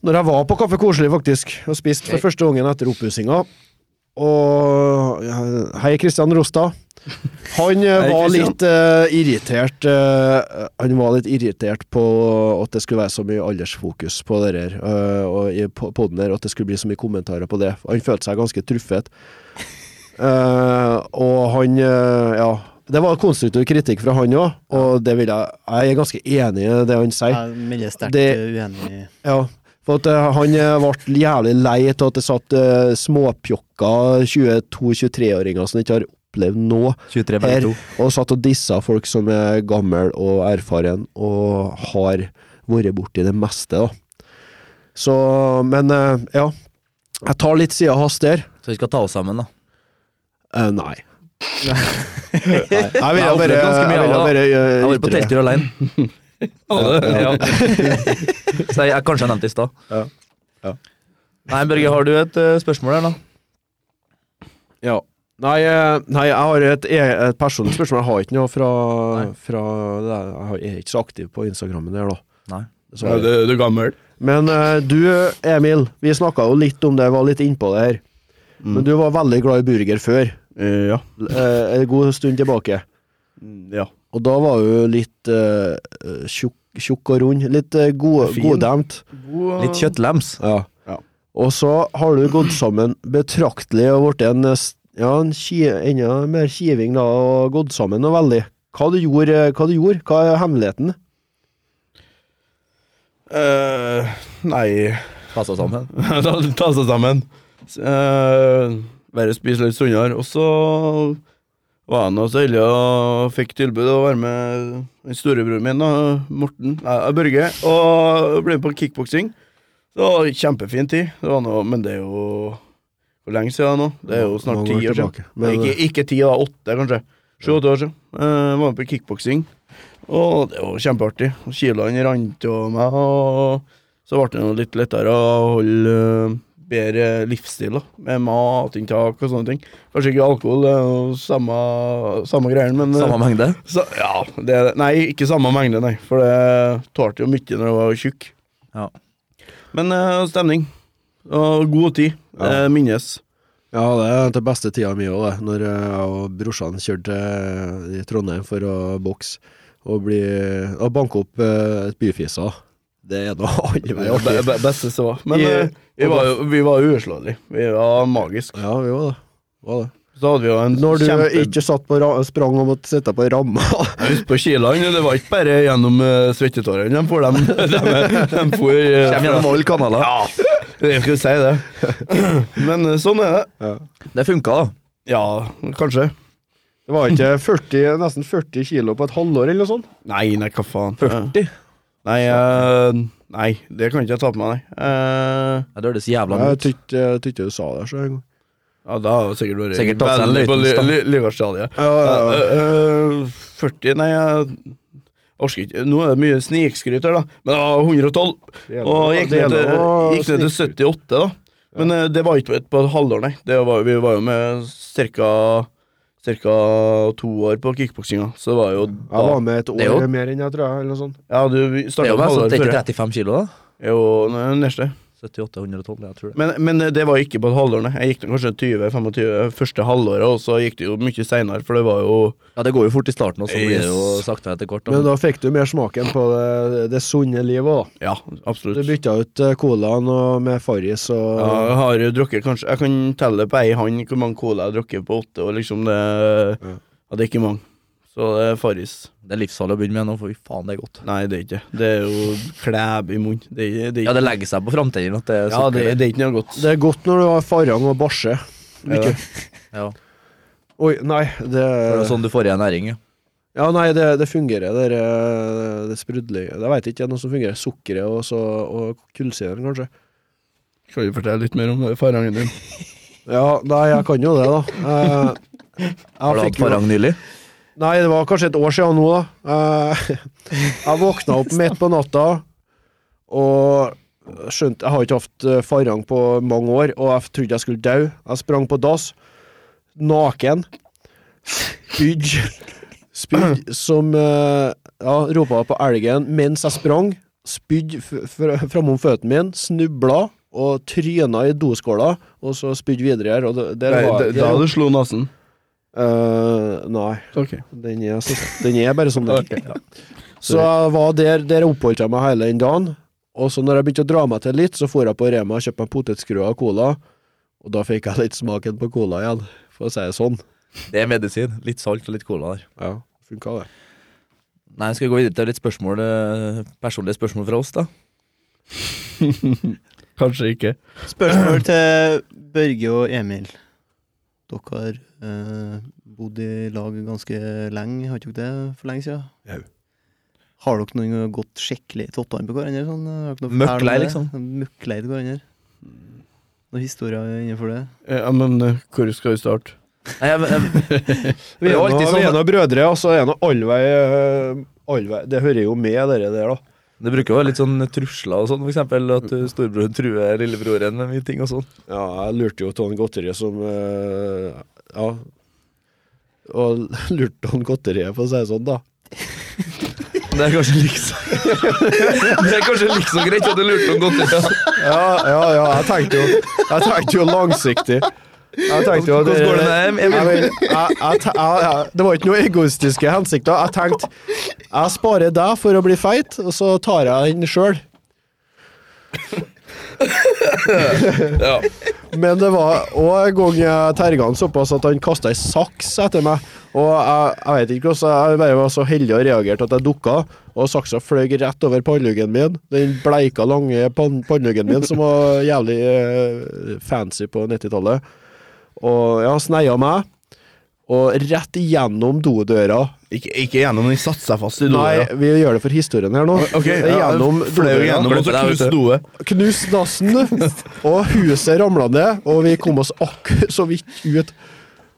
Speaker 4: når jeg var på Kaffe Koselig, faktisk, og spiste
Speaker 2: Hei.
Speaker 4: for første gangen etter oppussinga. Og eh, Hei, Kristian Rostad. Han eh,
Speaker 7: Hei,
Speaker 4: var
Speaker 7: Christian.
Speaker 4: litt eh, irritert eh, Han var litt irritert på at det skulle være så mye aldersfokus på det her, eh, og i po- podden her, og at det skulle bli så mye kommentarer på det. Han følte seg ganske truffet. Eh, og han eh, Ja. Det var konstruktiv kritikk fra han òg, og det vil jeg, jeg er ganske enig i det han sier.
Speaker 3: Jeg melder sterkt
Speaker 4: Det-
Speaker 3: eh, uenig.
Speaker 4: Ja, for at eh, han eh, ble jævlig lei av at det satt eh, småpjokka 22-23-åringer som ikke har opplevd noe,
Speaker 2: 23
Speaker 4: Her.
Speaker 2: begge to.
Speaker 4: og satt og dissa folk som er gammel og erfaren og har vært borti det meste, da. Så, men eh, ja. Jeg tar litt sida hans der.
Speaker 2: Så vi skal ta oss sammen, da.
Speaker 4: Eh, nei. nei. Jeg ville
Speaker 2: Nei, jeg
Speaker 4: bare,
Speaker 2: opplevde ganske mye
Speaker 4: jeg ville
Speaker 2: av
Speaker 4: bare
Speaker 2: Jeg
Speaker 4: eh,
Speaker 2: har vært på
Speaker 4: ytre.
Speaker 2: telttur alene. ja. Så jeg, jeg kanskje jeg nevnte det i stad.
Speaker 4: Ja.
Speaker 2: Nei, Børge, har du et eh, spørsmål her, da?
Speaker 4: Ja. Nei, eh, nei, jeg har et, e- et personlig spørsmål. Jeg har ikke noe fra, fra det der. Jeg har- Jeg er ikke så aktiv på Instagrammen der, da.
Speaker 2: Nei.
Speaker 4: Dessverre.
Speaker 7: du, er gammel.
Speaker 4: Men eh, du, Emil, vi snakka jo litt om det, var litt innpå det her.
Speaker 7: Mm.
Speaker 4: Men du var veldig glad i burger før,
Speaker 7: Eh, ja.
Speaker 4: eh, en god stund tilbake.
Speaker 7: Mm, ja.
Speaker 4: Og da var du litt eh, eh, tjukk, tjukk og rund. Litt eh, god,
Speaker 7: Fin.
Speaker 4: goddemt.
Speaker 2: Litt kjøttlems.
Speaker 4: Ja.
Speaker 7: Ja.
Speaker 4: Og så har du gått sammen betraktelig og blitt en, eh, s- ja, en ki, enda mer kiving da, og gått sammen noe veldig. Hva du gjorde, eh, hva du gjorde, hva er hemmeligheten?
Speaker 7: Eh, nei
Speaker 2: Passa sammen.
Speaker 7: ta, ta seg sammen. Uh, bare spise litt sunnere. Og så var jeg nå så heldig og fikk tilbud å være med den storebroren min, da, Morten nei, Børge, og ble med på kickboksing. Det var kjempefin tid, det var noe, men det er jo Hvor lenge siden nå? Det er jo snart
Speaker 4: Mange
Speaker 7: ti år siden.
Speaker 4: tilbake.
Speaker 7: Nei,
Speaker 4: Men, eh,
Speaker 7: ikke, ikke ti, da. Åtte, kanskje. Sju-åtte år siden. Eh, var med på kickboksing. Og det var kjempeartig. Og Kilene rant av meg, og så ble det noe litt lettere å holde eh, bedre livsstil, da, med matinntak og sånne ting. Kanskje ikke alkohol, det er jo samme, samme greien, men eh,
Speaker 2: Samme mengde.
Speaker 7: Så, ja, det, er det. nei, ikke samme mengde, nei. For det tålte jo mye når jeg var tjukk.
Speaker 2: Ja.
Speaker 7: Men eh, stemning. Og god tid. Eh, minnes.
Speaker 4: Ja, det er den beste tida mi òg, det. Når eh, jeg og brorsan kjørte til Trondheim for å bokse og, bli, og banke opp eh, byfiser. Det er noe annet vei
Speaker 7: Ja, be,
Speaker 4: artig.
Speaker 7: be, beste som var. Men
Speaker 4: I-
Speaker 7: eh, vi, var jo, vi var uslåelige. Vi var magisk
Speaker 4: Ja, vi var det. Var det.
Speaker 7: Så hadde vi jo en
Speaker 4: Når du
Speaker 7: kjempe...
Speaker 4: ikke satt på ra sprang og måtte sitte på ramma.
Speaker 7: Jeg husker på Kiland, det var ikke bare gjennom eh, svettetårene de for dem. De, de for eh,
Speaker 2: Kjem gjennom alle kanaler.
Speaker 7: Ja, jeg skulle si det. Men eh, sånn er det.
Speaker 2: Det funka, da.
Speaker 7: Ja, kanskje.
Speaker 9: Det var ikke 40, nesten 40 kilo på et halvår eller noe sånt?
Speaker 7: Nei, nei, hva faen. 40? Nei, eh, nei, det kan ikke jeg ta på meg, nei. Eh,
Speaker 2: Ja, Det høres jævla
Speaker 4: Jeg
Speaker 2: mye ut.
Speaker 4: tykker jeg tykker du sa det så en gang.
Speaker 7: ja, da har jeg sikkert vært
Speaker 2: Sikkert tatt seg en
Speaker 7: veldig på
Speaker 2: liten
Speaker 7: li- li- Livgardsstadiet.
Speaker 4: Ja, ja, ja.
Speaker 7: Eh, eh, 40, nei jeg orker ikke. Nå er det mye snikskryt her, da. Men jeg var 112, og jeg gikk ned til, gikk ned til 78, da. Men eh, det var ikke på et- på et halvår, nei. Det var, vi var jo med cirka, cirka to år på kickboksinga, så det var jo da
Speaker 9: Jeg var med et år
Speaker 2: er jo-
Speaker 9: eller mer enn jeg, tror jeg. eller noe sånt.
Speaker 7: Ja, du
Speaker 2: Det er
Speaker 7: starta
Speaker 2: jo
Speaker 7: et
Speaker 2: meg, så
Speaker 7: halvår
Speaker 2: det er
Speaker 7: før.
Speaker 2: ikke
Speaker 7: ja.
Speaker 2: 35 kilo, da?
Speaker 7: Jo, n- neste.
Speaker 2: 78-112, jeg tror det.
Speaker 7: Men, men det var ikke på et halvår, nei. Jeg gikk nå kanskje 20-25 første halvåret, og så gikk det jo mye seinere, for det var jo
Speaker 2: Ja, det går jo fort i starten, og så blir det jo
Speaker 7: Yes.
Speaker 2: sakte etter hvert.
Speaker 4: Men da
Speaker 2: Da.
Speaker 4: fikk du mer smaken på det, det sunne livet òg, da.
Speaker 7: Ja, absolutt.
Speaker 4: Du bytta ut eh, colaen og med Farris og
Speaker 7: Ja, jeg har jo drukket kanskje Jeg kan telle på ei hånd hvor mange cola jeg har drukket på åtte, og liksom det Ja, det er ikke mange. Så det er Farris.
Speaker 2: Det er livsfarlig å begynne med nå, for fy faen, det er godt.
Speaker 7: Nei, det er ikke det. Det er jo klæb i munnen. Det, er- det, er
Speaker 2: Ja,
Speaker 7: ikke-
Speaker 2: det legger seg på framtiden at det er
Speaker 7: ja, det,
Speaker 2: sukker.
Speaker 7: det er ikke noe godt.
Speaker 4: Det er godt når du har farang og barse. Mye.
Speaker 2: Ja.
Speaker 4: Oi, nei, det
Speaker 2: Det er jo sånn du får igjen næring. ja.
Speaker 4: Ja, nei, det, det fungerer. Det, er, eh, det sprudler Jeg veit ikke, det er noe som fungerer. Sukkeret og, så, og kullsyren, kanskje.
Speaker 7: Kan du fortelle litt mer om det, farangen din?
Speaker 4: Ja, nei, jeg kan jo det, da. Eh,
Speaker 2: Har du
Speaker 4: jeg
Speaker 2: hatt
Speaker 4: fikk jo
Speaker 2: farang nylig?
Speaker 4: Nei, det var kanskje et år siden nå, da. Eh, Jeg våkna opp midt på natta og skjønte Jeg har ikke hatt eh, farang på mange år, og jeg trodde jeg skulle dø. Jeg sprang på dass, naken. Spydd. Spydd som eh, Ja, ropa på elgen mens jeg sprang. Spydd f- fra- framom føttene mine, snubla og tryna i doskåla, og så spydd videre her. Og det, der
Speaker 7: Nei,
Speaker 4: var
Speaker 7: det,
Speaker 4: jeg
Speaker 7: da
Speaker 4: ikke.
Speaker 7: du slo nesen.
Speaker 4: Eh, nei.
Speaker 7: Ok.
Speaker 4: Den er, så, den er bare sånn der. Så jeg var der, der oppholdt jeg meg hele den dagen. Og så når jeg begynte å dra meg til litt, så for jeg på Rema og kjøpte meg potetskruer og cola. Og da fikk jeg litt smaken på cola igjen, for å si det sånn.
Speaker 2: Det er medisin. Litt salt og litt cola der.
Speaker 4: Ja, funka det.
Speaker 2: Nei, skal vi gå videre til litt spørsmål, eh, personlige spørsmål fra oss, da?
Speaker 7: Kanskje ikke.
Speaker 3: Spørsmål til Børge og Emil. Dere har eh, bodd i lag ganske lenge, har ikke dere det for lenge siden?
Speaker 4: Jau.
Speaker 3: Har dere noen gang gått skikkelig i tottene på hverandre? Sånn? Har dere noe
Speaker 2: Møkkleir,
Speaker 3: fortell om det?
Speaker 2: liksom.
Speaker 3: Møkkleir til hverandre? Noen historier innenfor det?
Speaker 7: Ja, men eh, hvor skal vi starte?
Speaker 2: Nei, jeg, jeg,
Speaker 4: Vi
Speaker 2: Det
Speaker 4: er
Speaker 2: er jo
Speaker 4: nå
Speaker 2: alltid sånn-
Speaker 4: vi er nå brødre, og så er nå allvei allvei, eh, Det hører jo med, dere der, da.
Speaker 2: det bruker jo å være litt sånn trusler og sånn, for eksempel. At eh, storebroren truer lillebroren med mye ting og sånn.
Speaker 4: Ja, jeg lurte jo Ton Godteri som eh, Ja. Og lurte Ton Godteriet, for å si det sånn, da.
Speaker 2: Det er kanskje liksom Det er kanskje liksom greit at du lurte om godt. Ja.
Speaker 4: Ja, ja, ja, jeg tenkte jo, jeg tenkte jo langsiktig. Jeg tenkte jo at
Speaker 2: Hvordan går det med dem,
Speaker 4: Jeg,
Speaker 2: Emil?
Speaker 4: vil- jeg, jeg, te- jeg, jeg, det var ikke noe egoistiske hensikter. Jeg tenkte jeg sparer deg for å bli feit, og så tar jeg den sjøl. Men det var òg en gang jeg terga han såpass at han kasta ei saks etter meg. Og jeg, jeg vet ikke hvordan, jeg bare var så heldig og reagerte at jeg dukka, og saksa fløy rett over panneluggen min. Den bleika, lange pann- panneluggen min som var jævlig eh, fancy på 90-tallet. Og ja, sneia meg. Og rett igjennom dodøra.
Speaker 7: Ikke, ikke gjennom den satte seg fast i do.
Speaker 4: Nei,
Speaker 7: ja.
Speaker 4: vi gjør det for historien her nå.
Speaker 7: Ok,
Speaker 4: Det er
Speaker 7: ja,
Speaker 4: gjennom
Speaker 7: fløy
Speaker 4: dodøra.
Speaker 7: gjennom, og så
Speaker 2: Klipp det der,
Speaker 7: knust doet. altså,
Speaker 4: knust dassen, og huset ramla ned, og vi kom oss akkurat så vidt ut.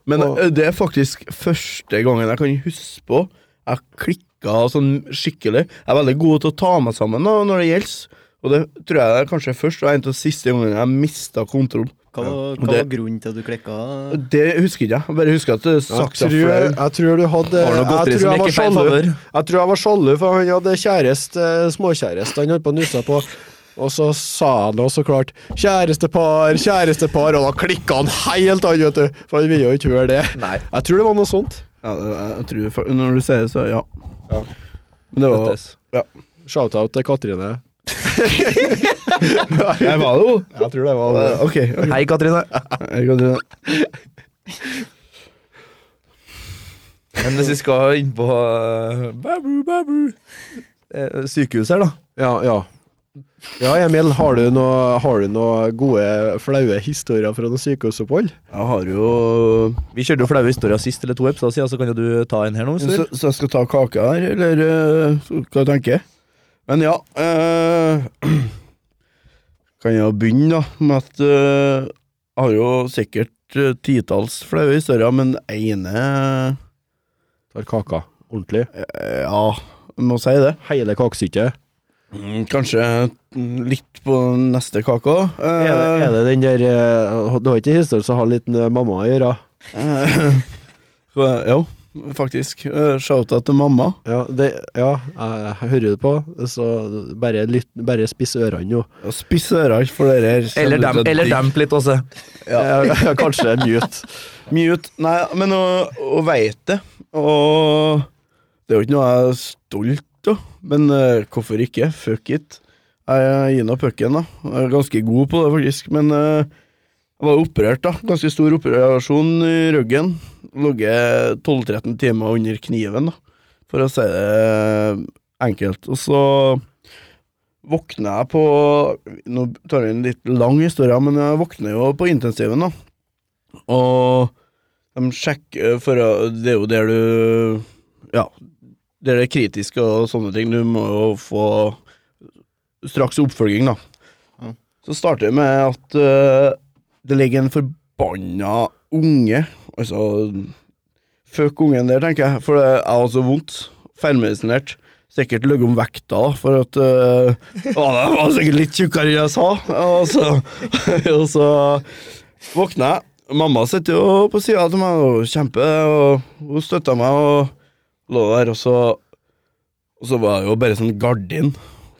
Speaker 7: Men
Speaker 4: Og-
Speaker 7: ø, det er faktisk første gangen jeg kan huske på jeg klikka sånn skikkelig. Jeg er veldig god til å ta meg sammen da, når det gjelder. Og det tror jeg det er kanskje først og en av siste gangen jeg mista kontroll.
Speaker 3: Hva, var-
Speaker 7: Ja.
Speaker 3: hva var
Speaker 7: Det-
Speaker 3: grunnen til at du klikka?
Speaker 7: Det husker ikke jeg. Jeg bare husker at det
Speaker 4: Jeg
Speaker 7: sakta
Speaker 4: tror,
Speaker 7: fløy.
Speaker 4: jeg tror du hadde
Speaker 5: Har du noe
Speaker 4: Jeg tror
Speaker 5: godteri som
Speaker 4: jeg
Speaker 5: gikk
Speaker 4: var
Speaker 5: i feil
Speaker 4: sjalu.
Speaker 5: favør?
Speaker 4: Jeg tror jeg var sjalu, for han hadde kjæreste, eh, småkjæreste han holdt på å nusse på. Og så sa han da så klart 'kjærestepar, kjærestepar', og da klikka han helt an, vet du. For han ville jo ikke høre det.
Speaker 5: Nei.
Speaker 4: Jeg tror det var noe sånt.
Speaker 7: Ja, det- jeg tror, fa- når du sier det, så ja.
Speaker 4: Ja.
Speaker 7: Men det var
Speaker 5: Møttes.
Speaker 4: Shout-out til Katrine.
Speaker 7: Jeg var det jo.
Speaker 4: Jeg tror det var
Speaker 7: Eh, Ok. ok.
Speaker 5: Hei, Katrine.
Speaker 7: Jeg kan si det.
Speaker 5: Men hvis vi skal inn på eh, babu, babu. Eh, Sykehuset her, da.
Speaker 4: Ja, ja. Ja, Emil, har du noe, har du noe gode, flaue historier fra noe sykehusopphold?
Speaker 7: Jeg har jo
Speaker 5: Vi kjørte jo flaue historier sist eller to episoder siden, så kan jo du ta en her nå. hvis du vil.
Speaker 7: Så, så jeg skal ta kake her, eller eh, så hva jeg tenker? Men ja eh, Kan jeg begynne, da, med at eh, jeg har jo sikkert eh, titalls flaue historier, men den ene
Speaker 4: Tar kaka. Ordentlig.
Speaker 7: eh, Ja, jeg må si det.
Speaker 4: Hele kakestykket.
Speaker 7: Mm, Kanskje mm, litt på neste kake òg.
Speaker 4: Er, det- er det den der eh, Du har ikke historie som har litt med mamma å gjøre?
Speaker 7: Jo, faktisk. Eh, Shout-out til mamma.
Speaker 4: Ja, det, ja jeg, jeg hører det på, så bare, lytt, bare spiss ørene nå.
Speaker 7: Og Spiss ører for dere her.
Speaker 5: Eller,
Speaker 7: Kjenner
Speaker 5: dem,
Speaker 7: ut at
Speaker 5: eller
Speaker 7: de-
Speaker 5: demp litt også.
Speaker 4: Eh, Kanskje mute.
Speaker 7: Mute. Nei, men å, å veit det. Og det er jo ikke noe jeg er stolt av, men eh, hvorfor ikke? Fuck it. Jeg gir nå pucken, da. Jeg er ganske god på det, faktisk. Men eh, jeg var operert, da. Ganske stor operasjon i ryggen. Ligget 12-13 timer under kniven, da, for å si det enkelt. Og så våkner jeg på Nå tar jeg en litt lang historie, men jeg våkner jo på intensiven, da. Og de sjekker for å- Det er jo der du Ja, der det er kritisk og sånne ting. Du må jo få straks oppfølging, da.
Speaker 3: Ja.
Speaker 7: Så starter det med at eh, det ligger en forbanna unge Altså Fuck ungen der, tenker jeg, for det er også vondt. Feilmedisinert. Sikkert løyet om vekta, da, for at eh, å, Jeg var sikkert litt tjukkere enn jeg sa. Og så, og så våkner jeg. Mamma sitter jo på sida til meg og kjemper, og hun støtter meg og lå der, og så Og så var det jo bare sånn gardin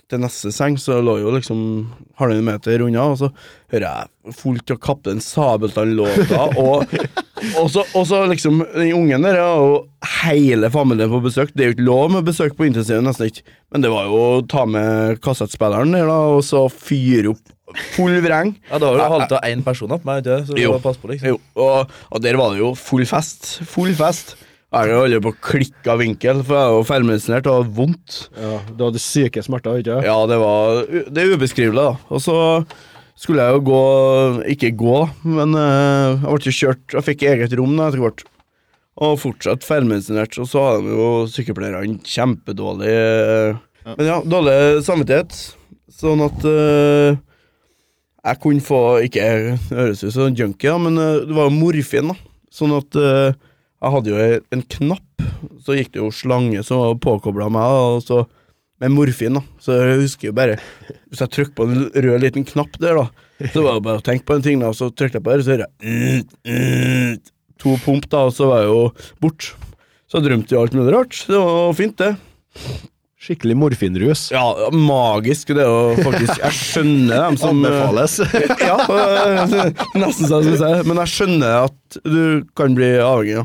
Speaker 7: til neste seng, så jeg lå jo liksom halvannen meter unna, og så hører jeg fullt av Kaptein Sabeltann-låta, og, og, så- og så liksom Den ungen der er jo hele familien på besøk. Det er jo ikke lov med besøk på intensiven, nesten ikke, men det var jo å ta med kassettspilleren der, da, og så fyre opp full vreng.
Speaker 5: Ja, Da har du halta én person opp meg, ikke? så du
Speaker 7: Jo.
Speaker 5: må passe på, liksom.
Speaker 7: Jo, og, og der var det jo full fest. Full fest. Jeg holder på å klikke av vinkel, for jeg er jo feilmedisinert og har vondt.
Speaker 4: Ja, du hadde syke smerter, ikke sant?
Speaker 7: Ja, det var Det er ubeskrivelig, da. Og så skulle jeg jo gå Ikke gå, men eh, jeg ble jo kjørt Jeg fikk eget rom da etter hvert. Og fortsatt feilmedisinert. Og så har de jo sykepleierne kjempedårlig eh, Men ja, dårlig samvittighet. Sånn at eh, jeg kunne få Ikke jeg høres ut som en junkie, da, men eh, det var jo morfin, da. Sånn at eh, jeg hadde jo en knapp, så gikk det jo slange som påkobla meg, da, og så med morfin, da. Så jeg husker jo bare Hvis jeg trykker på en l- rød liten knapp der, da, så var det bare å tenke på en ting, da, og så trykte jeg på det, så hører jeg ut, ut, to pump, da, og så var jeg jo borte. Så jeg drømte jo alt mulig rart. Det var fint, det.
Speaker 4: Skikkelig morfinrus.
Speaker 7: Ja, magisk, det er jo faktisk Jeg skjønner dem som
Speaker 4: Anbefales.
Speaker 7: ja, øh, nesten så jeg skulle si det. Men jeg skjønner at du kan bli avhengig. Ja.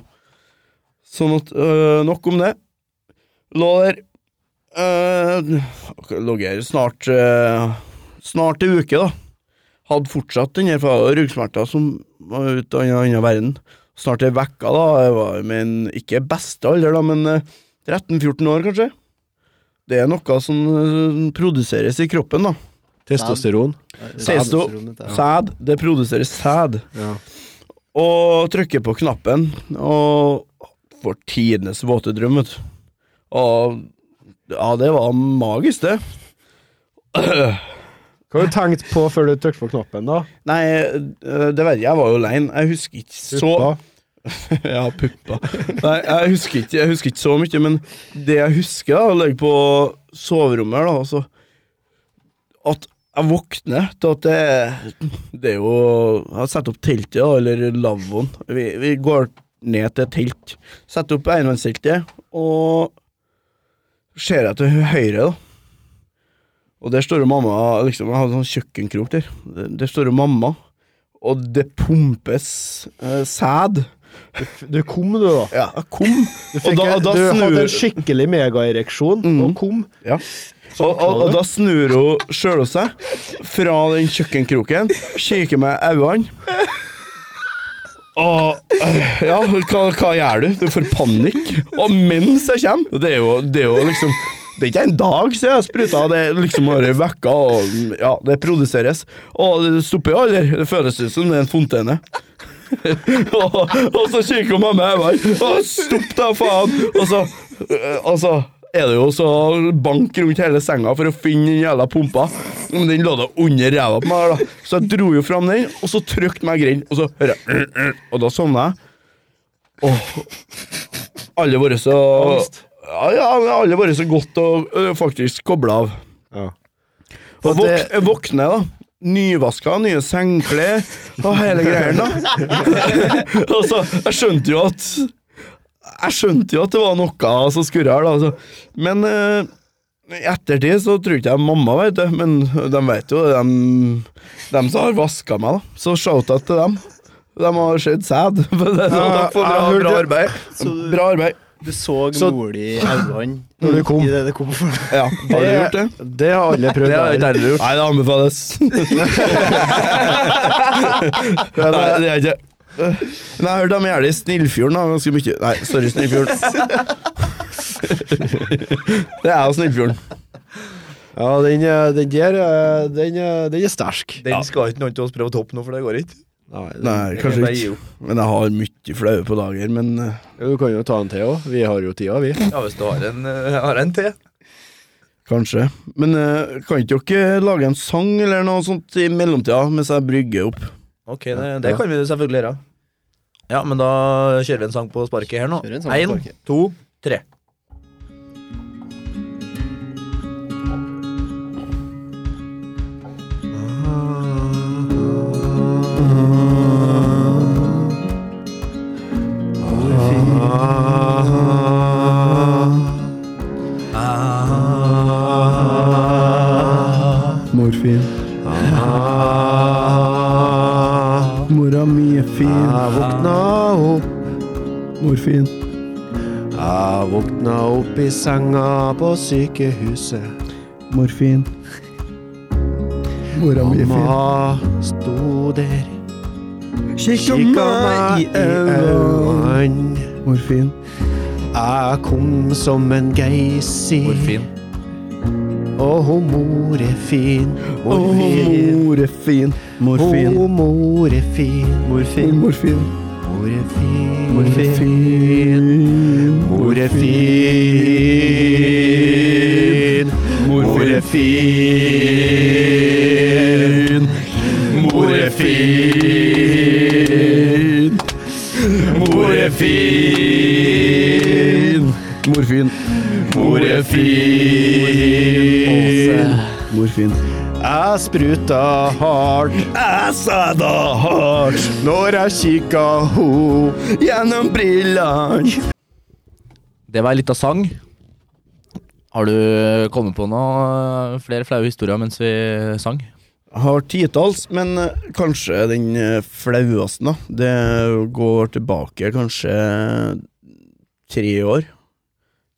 Speaker 7: Sånn at øh, Nok om det. Lå der øh, ok, Lå her snart øh, Snart ei uke, da. Hadde fortsatt den her fra ryggsmerter som var ute av en annen verden. Snart ei uke, da. Jeg var min ikke beste alder, da, men øh, 13-14 år, kanskje. Det er noe som øh, produseres i kroppen, da.
Speaker 4: Testosteron.
Speaker 7: Sesto. Sæd. Det produseres sæd.
Speaker 4: Ja.
Speaker 7: Og trykker på knappen, og får tidenes våte drøm, vet du. Og Ja, det var magisk, det.
Speaker 4: Hva har du tenkt på før du trykket på knappen, da?
Speaker 7: Nei, øh, det vet jeg. Jeg var jo aleine. Jeg husker ikke så
Speaker 4: Puppa?
Speaker 7: Ja, puppa. Nei, jeg husker, ikke, jeg husker ikke så mye, men det jeg husker, da, å ligge på soverommet her, da, og så altså. at jeg våkner til at det, det er jo Jeg har satt opp teltet, da, eller lavvoen. Vi, vi går ned til et telt. Setter opp enmannsteltet, og ser jeg til høyre, da. Og der står jo mamma liksom, Jeg hadde sånn kjøkkenkrok der. Der der står jo mamma, og det pumpes eh, sæd.
Speaker 9: Du kom, du, da.
Speaker 7: Ja, jeg kom.
Speaker 9: Du, fikk,
Speaker 7: da- da
Speaker 9: du
Speaker 7: snur-
Speaker 9: hadde en skikkelig megaereksjon og kom.
Speaker 7: Ja. Og, og, og da snur hun sjøl seg fra den kjøkkenkroken, kikker meg i øynene og øh, Ja, hva, hva gjør du? Du får panikk. Og mens jeg kommer Det er jo, det er jo liksom Det er ikke en dag siden jeg spruta, det er liksom bare vekka, og ja, det produseres. Og det stopper jo aldri. Det føles ut som det er en fontene. og, og så kikker hun på meg og bare «Å, Stopp da, faen! Og så, øh, og så er det jo så bank rundt hele senga for å finne den jævla pumpa. Men den lå da under ræva på meg, her, da. så jeg dro jo fram den, og så trykte meg grind, og så hører jeg «Øh, øh», Og da sovna jeg. Og alle våre så ja, ja, men alle våre så godt og øh, faktisk kobla av. Og våk, våkne, da. Nyvaska, nye sengeklær og hele greien, da. altså, jeg skjønte jo at Jeg skjønte jo at det var noe som skurra her, da. Altså. Men eh, i ettertid så tror ikke jeg mamma vet det, men de vet jo det, dem, dem som har vaska meg, da. Så shout-out til dem. De har sett sæd. Men det- de får bra,
Speaker 9: jeg hørte-
Speaker 7: bra arbeid.
Speaker 3: Så-
Speaker 7: Bra arbeid.
Speaker 3: Du så,
Speaker 9: Så-
Speaker 3: mor di i øynene
Speaker 9: Når du kom.
Speaker 3: i det det kom for deg.
Speaker 7: Ja, har du gjort det?
Speaker 9: Det har alle prøvd. der.
Speaker 7: deilig gjort. Nei, det anbefales. Nei, det er ikke Men jeg hørte de gjør det i Snillfjorden da, ganske mye. Nei, sorry, Snillfjorden. Det er jo Snillfjorden.
Speaker 9: Ja, den, eh, den der eh, den, eh, den er sterk.
Speaker 2: Den skal ikke noen til oss prøve å toppe nå, for det går ikke.
Speaker 9: Nei, den-
Speaker 7: Nei, kanskje
Speaker 2: Jeg
Speaker 7: ikke. Men jeg har mye flaue på dager, men eh,
Speaker 9: Ja, Du kan jo ta en til òg. Vi har jo tida, vi.
Speaker 2: Ja, hvis du har en, eh, har en til.
Speaker 7: kanskje. Men eh, kan ikke dere lage en sang eller noe sånt i mellomtida, mens jeg brygger opp?
Speaker 2: Ok, det, det kan vi selvfølgelig gjøre. Ja, men da kjører vi en sang på sparket her nå.
Speaker 3: Kjører en sang på
Speaker 2: Én,
Speaker 3: sparket.
Speaker 2: to, tre.
Speaker 7: Morfin. Mora mi er fin.
Speaker 9: Jeg våkna opp,
Speaker 7: Morfin.
Speaker 9: jeg våkna opp i senga på sykehuset.
Speaker 7: Morfin. Mora
Speaker 9: Mamma sto der,
Speaker 7: Kikka
Speaker 9: kikka meg eh, i øynene.
Speaker 7: Morfin.
Speaker 9: Jeg kom som en geysir,
Speaker 2: Morfin.
Speaker 9: og hun mor er fin. Morfin,
Speaker 7: mor er fin.
Speaker 9: hun mor er fin.
Speaker 3: Morfin.
Speaker 7: Morfin.
Speaker 9: Mor er fin.
Speaker 7: Morfin.
Speaker 9: Mor er fin. Mor er fin. Mor er fin. Mor er fin.
Speaker 7: Morfin.
Speaker 9: Mor er fin.
Speaker 7: Morfin.
Speaker 9: Jeg spruta hardt
Speaker 7: Jeg sa det hardt
Speaker 9: når jeg kikka ho.
Speaker 7: gjennom brillene.
Speaker 5: Det var ei lita sang. Har du kommet på noe flere flaue historier mens vi Eh, sang?
Speaker 7: Jeg har titalls, men eh, kanskje den eh, flaueste, da. Det går tilbake kanskje tre år.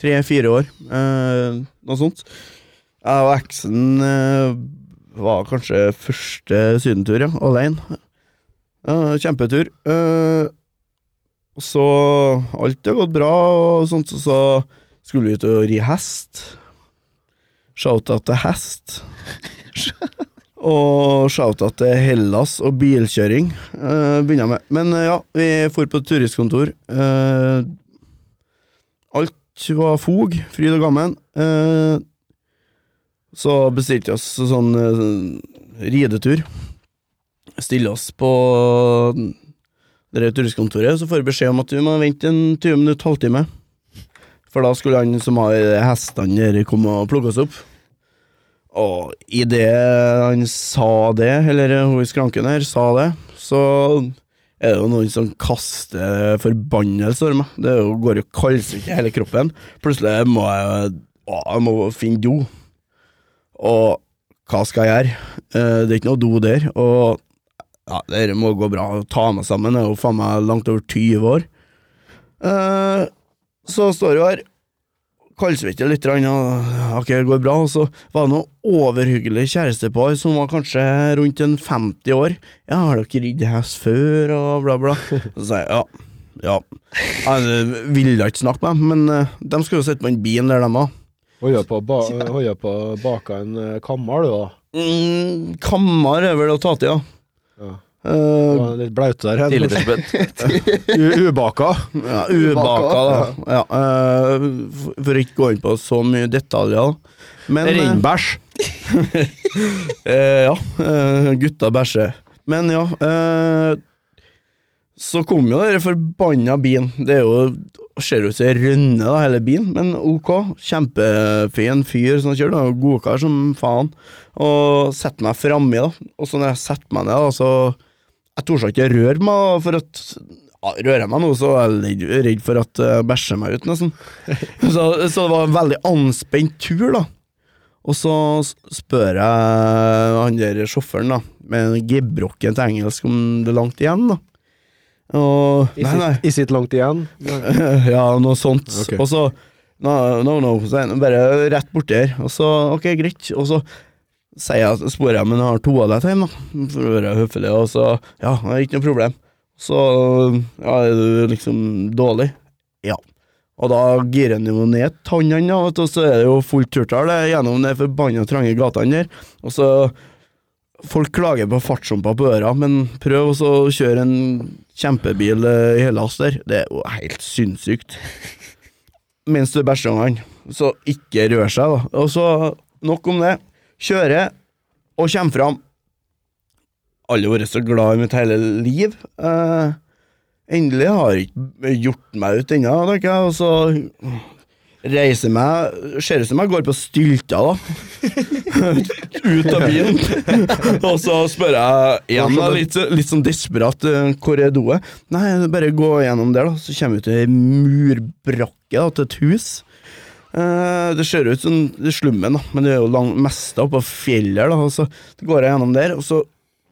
Speaker 7: Tre-fire år, eh, noe sånt. Jeg og eksen eh, var kanskje første sydentur, ja, alene. Eh, kjempetur. Eh, og så Alt har gått bra, og sånt, så, så skulle vi ut og ri hest. Shout-out til hest. Og shout-out til Hellas og bilkjøring. eh, begynner jeg med. Men eh, ja, vi for på et turistkontor. Eh, alt var fog, fryd og gammen. Eh, så bestilte vi oss sånn eh, ridetur. Stille oss på eh, det der turistkontoret, så får vi beskjed om at vi må vente en 20 minutter, halvtime. For da skulle han som har hestene der, komme og plukke oss opp. Og idet han sa det, eller hun i skranken her sa det, så er det jo noen som kaster forbannelse over meg. Det er jo, går jo kaldsvett i hele kroppen. Plutselig må jeg, å, jeg må finne do. Og hva skal jeg gjøre? Eh, Det er ikke noe do der. Og ja, dette må gå bra. Ta meg sammen. Jeg er jo faen meg langt over 20 år. Eh, Så står jeg her kaldsvette litt, grann, og ok, det går bra. Og så var det noe overhyggelig kjærestepar som var kanskje rundt en 50 år. Ja, har dere ridd hest før, og bla, bla. Så sa jeg ja. Ja. Jeg ville ikke snakke med dem, men eh, de skulle jo sitte på en bil der de var.
Speaker 9: Holder på å ba- holder på å bake en eh, kammer, du, da.
Speaker 7: Mm, kammer er vel å ta til, ja.
Speaker 9: Ja.
Speaker 7: Eh,
Speaker 9: Du var Litt blaut der. hen.
Speaker 2: Tidligere spent.
Speaker 9: U- Ubaka.
Speaker 7: ja, ubaka, da. Ja, eh, for- for ikke gå inn på så mye detaljer. Men, eh,
Speaker 9: Reinbæsj.
Speaker 7: Eh, ja, eh, gutta bæsjer. Men ja, eh, så kom jo den forbanna bilen. Det er jo ser ut som ei rønne, da, hele bilen, men ok. Kjempefin fyr som kjører, da, godkar som faen. Og setter meg framme, da. Og så når jeg setter meg ned, da, så Jeg torde ikke røre meg, da, for at ja, Rører jeg meg nå, så er jeg redd- redd for at jeg bæsjer meg ut, nesten. Så, så det var en veldig anspent tur, da. Og så s- spør jeg han der sjåføren, da, med gebrokken til engelsk, om det er langt igjen, da. Og Nei, nei.
Speaker 9: Is it langt igjen?
Speaker 7: ja, noe sånt.
Speaker 9: Ok.
Speaker 7: Og så No, no, no. Så er han bare rett borti her. Og så Ok, greit. Og så sier jeg, spør jeg om han har toalett hjemme, da, for å være høflig, og så Ja, det er ikke noe problem. Så Ja, er du liksom dårlig? Ja. Og da girer han jo ned tannene, da, vet du, og så er det jo fullt turtall det, gjennom de forbanna trange gatene der. Og så Folk klager på fartshumpa på øra, men prøv også å kjøre en kjempebil eh, i Hellas der. Det er jo helt sinnssykt. Mens du bæsjer ungene. Så ikke rør seg, da. Og så, nok om det. Kjøre og kommer fram. Alle har vært så glad i mitt hele liv. Eh, endelig har jeg ikke gjort meg ut ennå, tenker jeg. Og så reiser jeg meg. Ser ut som jeg går på stylter, da ut av bilen. og så spør jeg igjen, da, litt, litt sånn desperat, eh, hvor er doet? Nei, bare gå gjennom der, da. Så kommer vi til ei murbrakke da, til et hus. Eh, det ser ut som det er slummen, da, men det er jo lang, mest oppå fjellet. her, Da, og så går jeg gjennom der, og så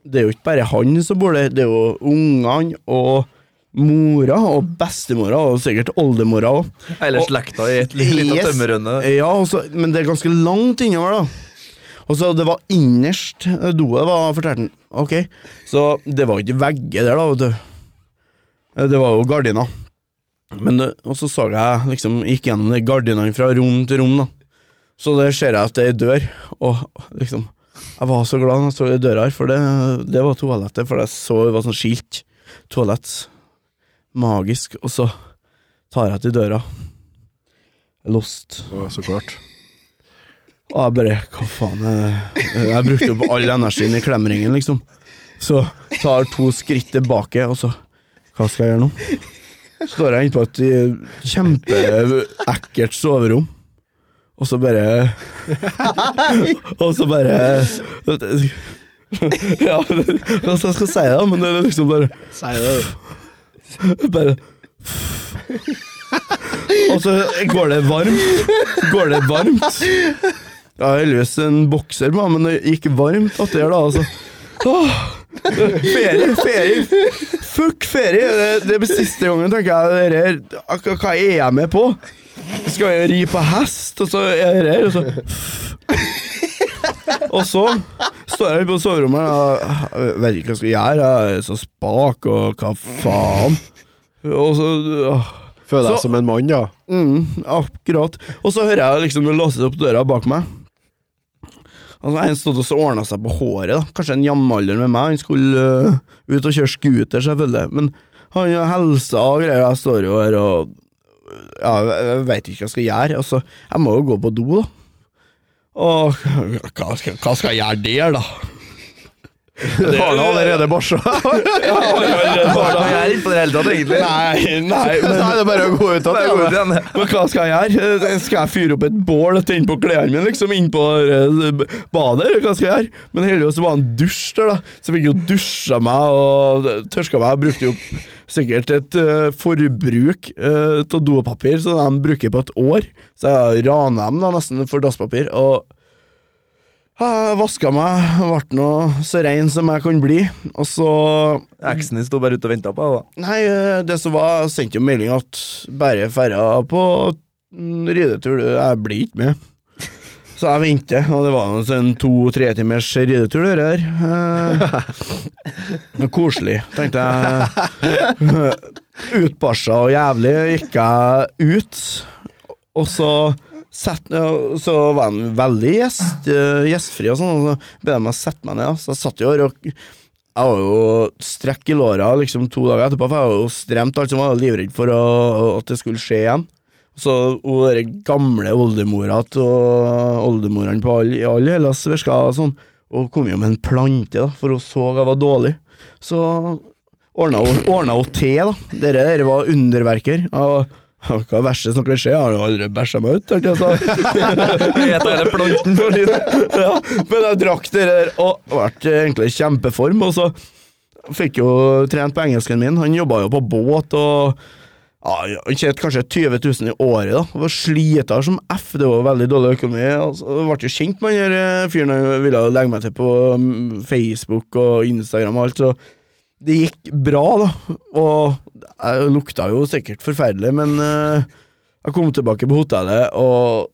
Speaker 7: Det er jo ikke bare han som bor der, det er jo ungene og mora og bestemora og sikkert oldemora òg.
Speaker 2: Hele
Speaker 7: Og-
Speaker 2: slekta i et lite
Speaker 7: Yes.
Speaker 2: tømmerrønne.
Speaker 7: Ja, og så- men det er ganske langt innover, da. Og så det var innerst eh, doet, var fortalte han. Ok, så det var ikke vegger der, da, vet du. Eh, Det var jo gardiner. Men det, og så så jeg liksom gikk gjennom de gardinene fra rom til rom, da. Så der ser jeg at det er ei dør, og liksom Jeg var så glad da jeg så ei dør her, for det, det var toalettet, for jeg så det var sånn skilt. Toalett. Magisk. Og så tar jeg til døra. Lost.
Speaker 9: så klart.
Speaker 7: Og jeg bare Hva faen er det? Jeg brukte opp all energien i klemringen, liksom. Så tar to skritt tilbake, og så Hva skal jeg gjøre nå? Står jeg inne på et eh, kjempeekkelt soverom, og så bare Og så bare Ja, hva skal jeg si, da? Men det er liksom bare bare Og så går det varmt. Går det varmt? Jeg har heldigvis en bokser på, meg, men det gikk varmt at det gjør det, altså. Åh, ferie, ferie. Fuck ferie. Det- Det blir siste gangen, tenker jeg. Det her, ak- hva er jeg med på? Skal jeg ri på hest, og så er det her, og så og så står jeg på soverommet og jeg vet ikke hva jeg skal gjøre. Jeg er så spak, og hva faen? Og så ah. åh,
Speaker 9: Føler
Speaker 7: Så-
Speaker 9: deg som en mann, da.
Speaker 7: mm, Akkurat. Og så hører jeg liksom det låses opp døra bak meg. Altså, en stod og så ordna seg på håret. da Kanskje en jammalder med meg. Han skulle øh, ut og kjøre scooter, selvfølgelig. Men han har helsa og greier. Jeg står jo her og ja, Jeg jeg vet ikke hva jeg skal gjøre. Altså, jeg må jo gå på do, da. Og hva skal, hva skal jeg gjøre der, da? Det har han allerede barsa.
Speaker 5: Jeg er ikke på det hele tatt, egentlig.
Speaker 7: Nei, nei, men
Speaker 10: Nei, det er bare å gå ut av
Speaker 5: Det
Speaker 10: det.
Speaker 5: er god idé.
Speaker 7: Men hva skal jeg gjøre? Eh, Skal jeg fyre opp et bål og tenne på klærne mine liksom innpå eh, badet? eller Hva skal jeg gjøre? Men heldigvis var det en dusj der, da. Så jeg fikk jo dusja meg og tørska meg. Jeg brukte jo sikkert et eh, forbruk eh, av dopapir som de bruker på et år. Så jeg rana dem da nesten for dasspapir. Og jeg vaska meg, ble nå så rein som jeg kunne bli. Og så
Speaker 5: Eksen din sto bare ute og venta på deg. da.
Speaker 7: Nei, eh, det som var, jeg sendte jo melding at bare ferda på mm, ridetur, du, jeg blir ikke med. Så jeg venter, og det var en sånn to-tre timers ridetur, det der. Eh, koselig, tenkte jeg. Utbarsa og jævlig gikk jeg ut, og så Sett, ja, så var han veldig gjest, eh, gjestfri og sånn, og så bed han meg sette meg ned. ja. Så jeg satt jo her og jeg var jo strekk i låra liksom to dager etterpå, for jeg var jo stremt alt som var livredd for å, at det skulle skje igjen. Så hun der gamle oldemora til oldemorene på all, i all Hellas virka sånn, og kom jo med en plante, da, for hun så jeg var dårlig. Så ordna hun, ordna hun te, da. Dere der var underverker. Og, hva er det verste som kan skje? Jeg har jo aldri bæsja meg ut, tenkte jeg så.
Speaker 5: Jeg tar hele planten for litt.
Speaker 7: ja, men jeg drakk det der og ble egentlig i kjempeform, og så fikk jo trent på engelsken min. Han jobba jo på båt og ja, han tjente kanskje 20 000 i året. da. Han var slita som F, det var veldig dårlig økonomi. Altså, jeg ble jo kjent med han der eh, fyren han ville legge meg til på mm, Facebook og Instagram og alt, så det gikk bra, da. Og jeg lukta jo sikkert forferdelig, men eh, jeg kom tilbake på hotellet og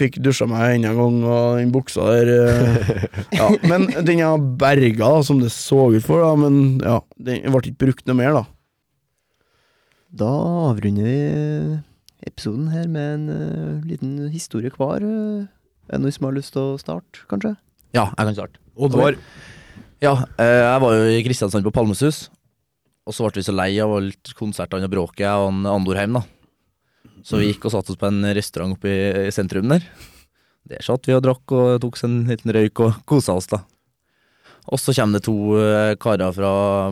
Speaker 7: fikk dusja meg enda en gang, og den buksa der eh, ja. Men den jeg berga, som det så ut for, da, men ja, den ble ikke brukt noe mer, da.
Speaker 3: Da avrunder vi episoden her med en eh, liten historie hver. eh. er det noen som har lyst til å starte, kanskje?
Speaker 5: Ja, jeg kan starte. Oddvar. Ja, eh, jeg var jo i Kristiansand på Palmesus, og så ble vi så lei av alt konsertene og bråket og han Andorheim, da. Så vi gikk og satte oss på en restaurant oppe i- i sentrum der. Der satt vi og drakk og tok oss en liten røyk og kosa oss, da. Og så kommer det to eh, karer fra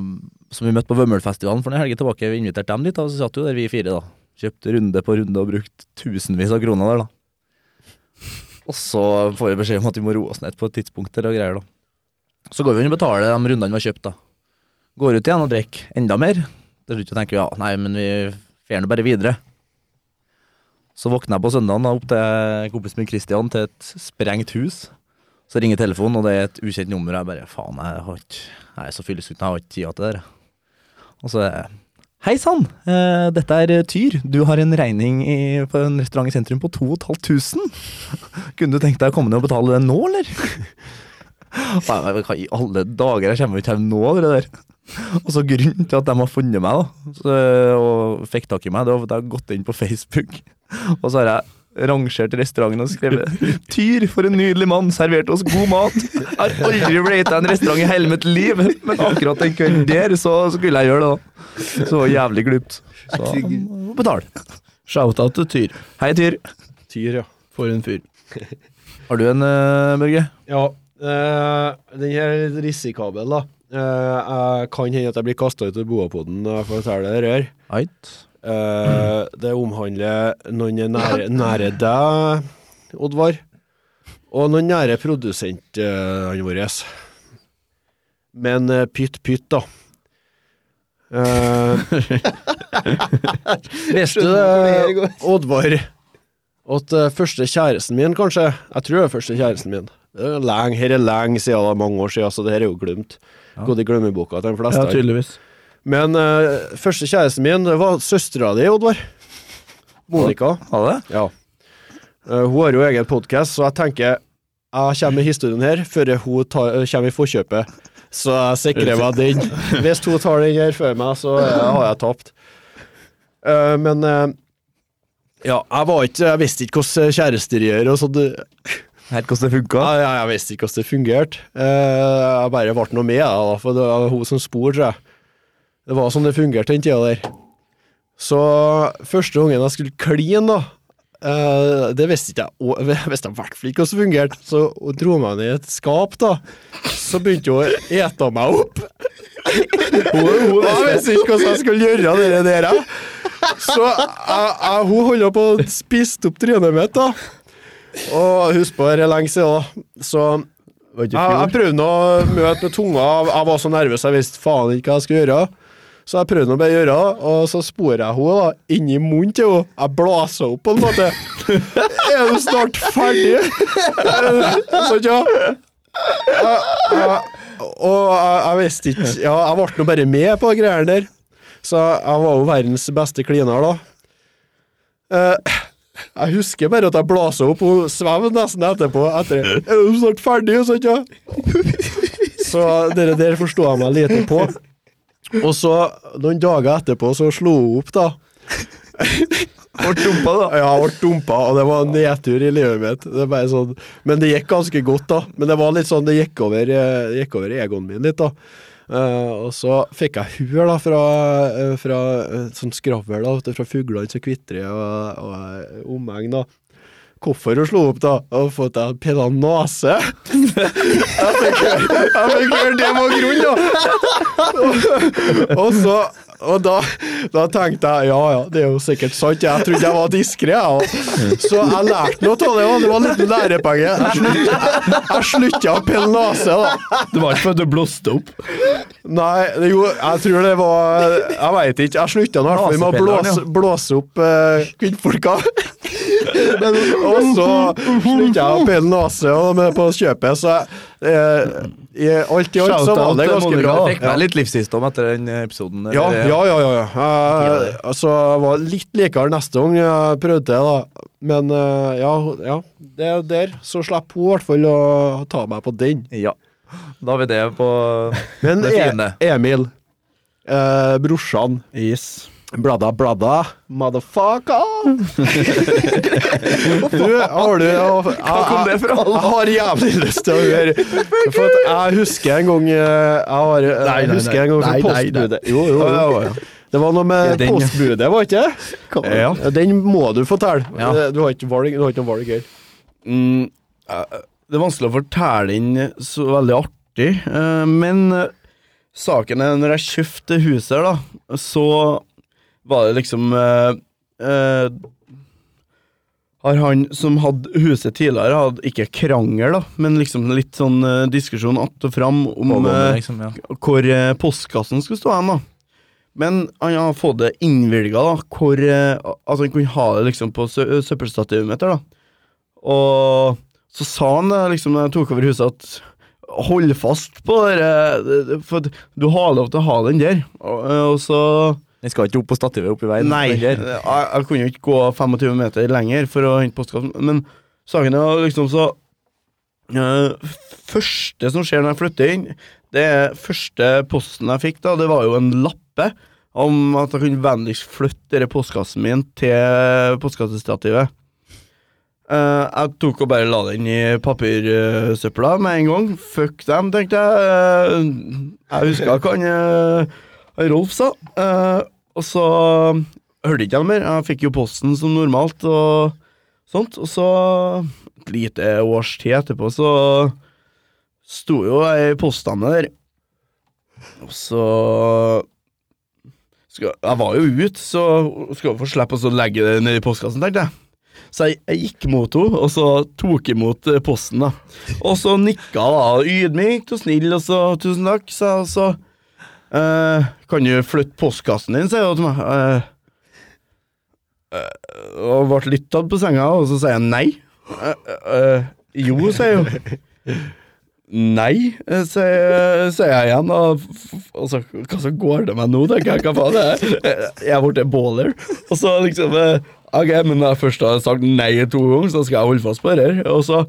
Speaker 5: som vi møtte på Vømmølfestivalen for en helg tilbake. Vi inviterte dem dit, da, og så satt jo der vi fire, da. Kjøpte runde på runde og brukt tusenvis av kroner der, da. Og så får vi beskjed om at vi må roe oss ned på et tidspunkt eller greier da. Så går vi inn og betaler de rundene vi har kjøpt da. Går ut igjen og drikker enda mer. Til slutt tenker vi ja, nei, men vi fer nå bare videre. Så våkner jeg på søndagen da, opp til kompisen min Christian til et sprengt hus. Så ringer telefonen, og det er et ukjent nummer. og Jeg bare faen, jeg har ikke Jeg er så fyllesulten, jeg har ikke tida til det der. Og så Hei sann, eh, dette er Tyr. Du har en regning i, på en restaurant i sentrum på 2500. Kunne du tenkt deg å komme ned og betale det nå, eller? Nei, men hva i alle dager, jeg kommer jo ikke hjem nå, det der. Og så grunnen til at de har funnet meg, da, så, og fikk tak i meg, det var at jeg har gått inn på Facebook, og så har jeg rangert restauranten og skrevet 'Tyr, for en nydelig mann, serverte oss god mat'. Jeg har aldri rata en restaurant i hele mitt liv, men akkurat den kvelden der, så skulle jeg gjøre det, da. Så det var jævlig glupt. Så må betale.
Speaker 7: Shout-out til Tyr.
Speaker 5: Hei, Tyr.
Speaker 4: Tyr, ja.
Speaker 7: For en fyr.
Speaker 5: Har du en, eh, Børge?
Speaker 4: Ja, eh, den her er litt risikabel, da. Eh, jeg kan hende at jeg blir kasta ut av boapoden eh, når jeg forteller det her.
Speaker 5: Ait.
Speaker 4: Eh, det omhandler noen nære, nære deg, Oddvar, og noen nære produsentene våre. Men eh, pytt, pytt, da. Eh, Visste du det, Oddvar, at eh, første kjæresten min, kanskje Jeg tror det er første kjæresten min. Det er lenge, her er lenge siden, det er mange år siden, så det her er jo glemt. Gått i glemmeboka til de fleste.
Speaker 7: Ja, tydeligvis.
Speaker 4: Men eh, første kjæresten min det var søstera di, Oddvar. Monica.
Speaker 5: Har du det?
Speaker 4: Ja. Eh, hun har jo egen podkast, så jeg tenker jeg kommer med historien her før hun tar, eh, kommer i forkjøpet. Så jeg sikrer meg den. Hvis hun tar den her før meg, så eh, har jeg tapt. Eh, men eh, ja, jeg var ikke Jeg visste ikke hvordan kjærester gjør og sånt.
Speaker 5: Helt hvordan det funka?
Speaker 4: Ja, ja, jeg visste ikke hvordan det fungerte. Eh, jeg bare ble noe med, jeg, da, for det var hun som spurte, tror jeg. Det var sånn det fungerte den tida der. Så første gangen jeg skulle kline, da Eh, det visste ikke jeg, og jeg visste i hvert fall ikke hvordan det fungerte. Så hun dro meg ned i et skap, da. Så begynte hun å ete meg opp. Og jeg visste ikke hvordan jeg skulle gjøre det der. jeg. Så jeg, jeg, hun holdt på å spise opp trynet mitt, da. Og husk på, det er lenge siden, da. Så
Speaker 7: Var
Speaker 4: jeg, jeg prøvde nå å møte med tunga. Jeg var så nervøs, jeg visste faen ikke hva jeg skulle gjøre. Så jeg prøvde nå bare å gjøre det, og så sporer jeg henne da, inni munnen til henne. Jeg blåser opp på en måte. Er du snart ferdig? Sånn, ja. Jeg- jeg- Og jeg, jeg visste ikke Ja, jeg ble nå bare med på greiene der. Så jeg var jo verdens beste kliner, da. Eh, jeg husker bare at jeg blåser opp og svevde nesten etterpå. Etter, det. er du snart ferdig? Og sånt, ja. Så det der forsto jeg meg lite på. Og så, noen dager etterpå, så slo hun opp, da. Ble dumpa, da? Ja, ble dumpa, og det var en nedtur i livet mitt. Det er bare sånn. Men det gikk ganske godt, da. Men det var litt sånn, det gikk over, eh, det gikk over egoen min litt, da. Eh, og så fikk jeg huer da fra, eh, fra eh, sånn skravl da, vet du, fra fuglene som kvitrer og, og eh, omegn. da Hvorfor hun slo opp, da? Og fått jeg pilla nese? jeg fikk høre- jeg fikk høre det var grunnen, da! Og så og da, da tenkte jeg ja ja, det er jo sikkert sant. Jeg trodde jeg var diskré. Så jeg lærte noe av det. og Det var en liten lærepenge. Jeg slutta- Jeg slutta å pille nese, da.
Speaker 7: Det var ikke for at du blåste opp.
Speaker 4: Nei, det, jo, jeg tror det var Jeg veit ikke. Jeg slutta nå i hvert fall med å blåse, blåse opp eh, kvinnfolka. Men, og så slutta jeg å pille nese og med på kjøpet, så jeg eh, i alt i alt så var det ganske bra.
Speaker 5: Jeg fikk meg litt livsvisdom etter den episoden. der.
Speaker 4: Ja, ja, ja. ja, ja. Eh, altså, jeg var litt likere neste gang jeg prøvde det, da. Men eh, ja, ja. Det er der. Så slipper hun i hvert fall å ta meg på den.
Speaker 5: Ja. Da har vi det på
Speaker 4: Men
Speaker 5: Det er
Speaker 4: e
Speaker 5: fine.
Speaker 4: Emil, eh, brorsan
Speaker 7: Yes.
Speaker 4: Bladda, bladda, motherfucker! du, har du Hva kom det fra? Jeg har jævlig lyst til å høre For at jeg husker en gang eh, Jeg, har, jeg
Speaker 7: Nei, nei, nei.
Speaker 4: husker en gang fra
Speaker 7: Nei, nei, nei.
Speaker 4: postbudet Jo, jo, jo. Det var noe med
Speaker 7: den, ja.
Speaker 4: postbudet, var det ikke? Ja. Den må du fortelle. Eh, Du har ikke valg, du har ikke noe valg her.
Speaker 7: Mm, eh, det er vanskelig å fortelle inn så veldig artig, eh, men eh, saken er når jeg kjøpte huset her, da, så var det liksom eh, eh, Har han som hadde huset tidligere, hadde ikke krangel, da, men liksom litt sånn eh, diskusjon att og fram om eh,
Speaker 5: liksom, ja.
Speaker 7: hvor eh, postkassen skulle stå hen, da. Men han har fått det innvilga, da. Hvor eh, Altså, han kunne ha det liksom på sø søppelstativet mitt, der, da. Og så sa han det, liksom, da jeg tok over huset, at hold fast på det der, eh, for at du har lov til å ha den der. Og, eh, og så
Speaker 5: Jeg skal ikke opp på stativet opp i veien.
Speaker 7: Nei, jeg, jeg kunne jo ikke gå 25 meter lenger for å hente postkassen, men saken er liksom så eh, Første som skjer når jeg flytter inn, det er første posten jeg fikk, da, det var jo en lappe om at jeg kunne vennligst flytte denne postkassen min til postkassestativet. Eh, jeg tok og bare la den i papirsøpla med en gang. Fuck dem, tenkte jeg. Eh, jeg husker hva han eh, Rolf sa. Eh, og så hørte jeg ikke noe mer. Jeg fikk jo posten som normalt og sånt. Og så, et lite års tid etterpå, så sto jo jeg i postene der. Og så skal, Jeg var jo ute, så skal vi få slippe å så legge det ned i postkassen, tenkte jeg. Så jeg, jeg gikk mot henne, og så tok imot eh, posten. da Og så nikka hun ydmykt og snill, og så 'tusen takk', sa jeg, og så Eh, kan du flytte postkassen din, sier hun til meg. Eh, eh, og ble litt tatt på senga, og så sier jeg nei. Eh, eh, jo, sier hun. Nei, eh, sier sier jeg igjen. Og, f- f- og så, hva så går det meg nå, tenker jeg. Hva faen er det? Eh, Jeg er blitt baller. Og så liksom eh, Ok, men når jeg først har sagt nei to ganger, så skal jeg holde fast på det her. Og så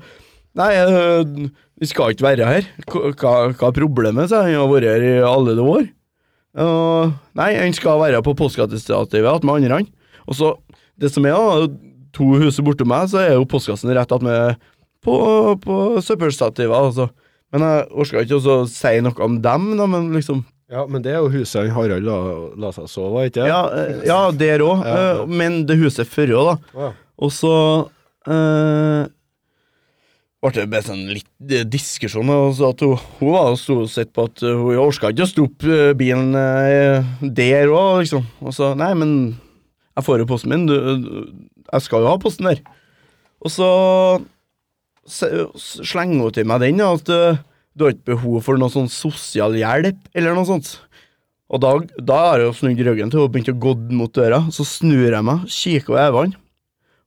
Speaker 7: Nei, eh, vi skal ikke være her. Hva, hva- hva er problemet? sa han. Han har vært her i alle de år. Og, nei, han skal være på postkassestativet att med andre han. Og så, det som er, da, to hus borte meg, så er jo postkassen rett attmed på, på søppelstativet. Altså. Men jeg orka ikke også å si noe om dem, da, men liksom
Speaker 4: Ja, men det er jo huset han Harald la, la seg sove, var ikke det?
Speaker 7: Ja, eh, ja der òg, eh, men det huset før òg, da.
Speaker 4: Å, ja.
Speaker 7: Og så eh, ble det bare sånn litt eh, diskusjon. Og så at hun, hun var jo stort sett på at eh, hun orka ikke å stoppe eh, bilen eh, der òg, liksom. Og så Nei, men jeg får jo posten min. Du, du- jeg skal jo ha posten der. Og så se- s- slenger hun til meg den, ja, at eh, du har ikke behov for noe sånn sosial hjelp, eller noe sånt. Og da, da har jeg jo snudd ryggen til og begynt å gå mot døra. Så snur jeg meg, kikker over øynene.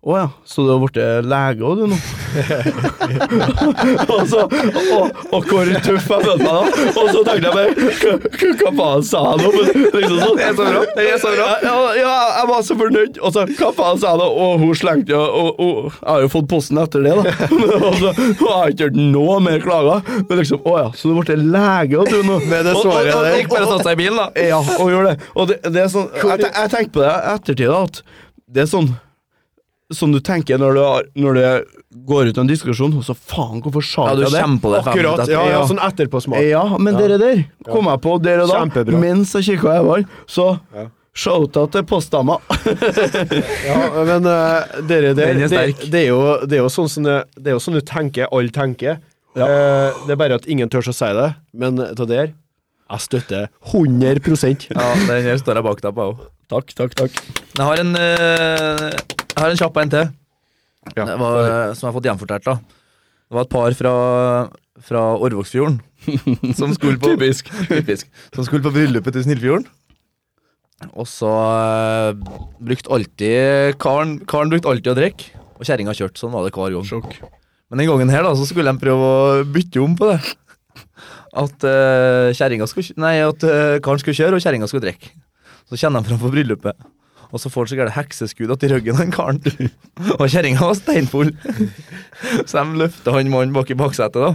Speaker 7: Å ja, så du har blitt lege òg, du nå? og så og, og hvor tøff jeg følte meg da. Og så tenkte jeg bare "Hva- hva- Hva faen sa jeg nå? Men Liksom sånn. Det er så bra. Ja, ja, jeg var så fornøyd. Og så hva faen sa jeg nå? Og hun slengte jo og, og, Jeg har jo fått posten etter det, da. og så og jeg har ikke hørt noe mer klager. Men liksom Å ja, så du ble lege òg, du nå? Med det svaret der. Gikk bare og satte seg i bilen, da. Ja, og gjorde det. Og det, det er sånn Jeg, te- jeg tenker på det i ettertid, da, at det er sånn som du tenker når du, har, når du går ut av en diskusjon, og så faen, hvorfor sa
Speaker 5: Ja, du
Speaker 7: jeg det?
Speaker 5: kommer på det. fem
Speaker 4: Akkurat,
Speaker 5: minutter
Speaker 4: ja,
Speaker 5: etter.
Speaker 4: ja, sånn etterpåsmak.
Speaker 7: Ja, men dere der kom jeg på der og da,
Speaker 4: Kjempebra.
Speaker 7: mens jeg kikka i øynene, så
Speaker 4: Ja.
Speaker 7: shouta til postdama.
Speaker 4: Ja, men eh, dere, det,
Speaker 5: Den er
Speaker 4: det,
Speaker 5: sterk.
Speaker 4: det, er jo, det er jo sånn som det, det er jo sånn du tenker, alle tenker. Eh, det er bare at ingen tør å si det, men til der, jeg støtter 100
Speaker 5: Ja, den her står jeg bak deg på òg.
Speaker 7: Takk, takk, takk.
Speaker 5: Jeg har en, eh, jeg har en kjapp en til, det var, eh, som jeg har fått gjenfortalt. da Det var et par fra, fra Orvoksfjorden som skulle på Typisk. Som skulle på bryllupet til Snillfjorden. Og så eh, brukte alltid Karen, karen brukte alltid å drikke, og kjerringa kjørte. Sånn var det hver gang. Men den gangen her da, så skulle de prøve å bytte om på det. At uh, kjerringa skulle kj- Nei, at eh, karen skulle kjøre, og kjerringa skulle drikke. Så kjenner de fram på bryllupet, og så får han så gærne hekseskudd til ryggen han karen. Og kjerringa var steinfull. Så de løfter han mannen bak i baksetet da,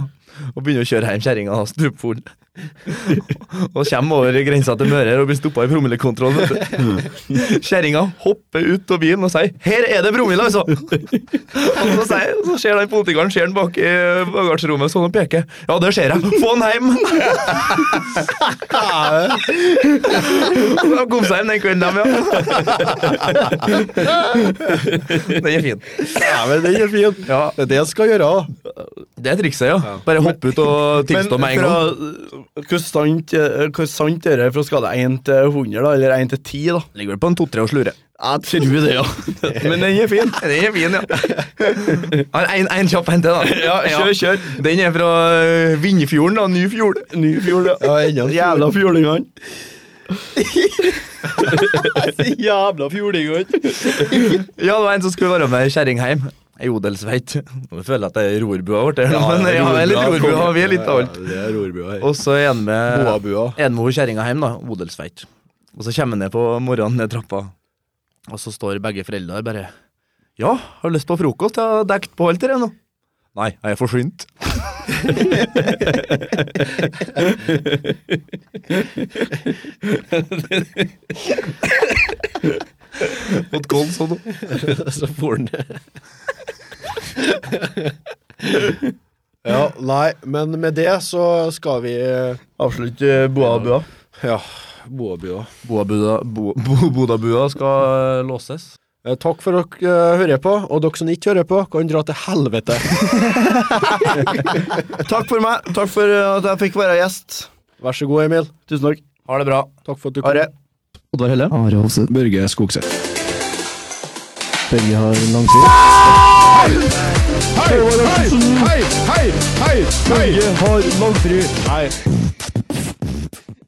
Speaker 5: og begynner å kjøre hjem kjerringa da, stupfull. Og kommer over grensa til Møre og blir stoppa i promillekontroll. vet du. Kjerringa hopper ut av bilen og sier 'Her er det promille', altså! Og så, sier, så ser den politikeren ser den bak i bagasjerommet sånn og peker. 'Ja, det ser jeg. Få han hjem!' De kom seg hjem den kvelden, dem, ja. Den er fin.
Speaker 4: Ja, men den er fin.
Speaker 5: Ja,
Speaker 4: Det er det jeg skal gjøre. da.
Speaker 5: det er trikset, ja. Bare hoppe ut og tilstå med en gang.
Speaker 7: Hvor sant, eh, hvor sant er det fra skala 1 til 100, da? Eller 1 til 10, da?
Speaker 5: Ligger vel på en to-tre og slure.
Speaker 7: Jeg tror det, ja. Men den er fin.
Speaker 5: Den er fin, ja. Har en, en kjapp en til, da. Ja, kjør, kjør. Den er fra eh, Vindfjorden, da. Nyfjord.
Speaker 7: Nyfjord, ja.
Speaker 4: enda en
Speaker 7: Jævla fjordingene.
Speaker 11: Jævla fjordingene!
Speaker 5: Ja, det var en som skulle være med Kjerringheim. Ei odelsveit. Nå føler jeg at det er rorbua vårt. Ja, men ja, vi er litt rorbua, vi er litt av alt.
Speaker 4: Ja, det er rorbua her.
Speaker 5: Og så er han med
Speaker 4: Boabua.
Speaker 5: En med hun kjerringa hjem, da. Odelsveit. Og så kommer han ned på morgenen ned trappa, og så står begge foreldrene der bare Ja, har du lyst på frokost? Jeg har dekt på alt det der nå. Nei, jeg er forsynt. Mot gold sånn.
Speaker 4: Så får den det. ja, nei, men med det så skal vi
Speaker 7: Avslutt eh, boa-bua.
Speaker 4: Ja, Boabua.
Speaker 5: Bodabua bo, bo, Bodabua skal låses.
Speaker 4: Eh, Takk for at dere eh, hører på, og dere som ikke hører på, kan dra til helvete.
Speaker 7: Takk for meg. Takk for eh, at jeg fikk være gjest.
Speaker 4: Vær så god, Emil.
Speaker 7: Tusen takk.
Speaker 5: Ha det bra.
Speaker 4: Takk for at du
Speaker 7: Ha det.
Speaker 11: Oddvar Helle.
Speaker 12: Are Hofseth. Børge Skogseth.
Speaker 11: Børge har langsyn.
Speaker 12: Hei, hei, hei, hei, hei!
Speaker 7: Norge har langfri.
Speaker 12: Hei.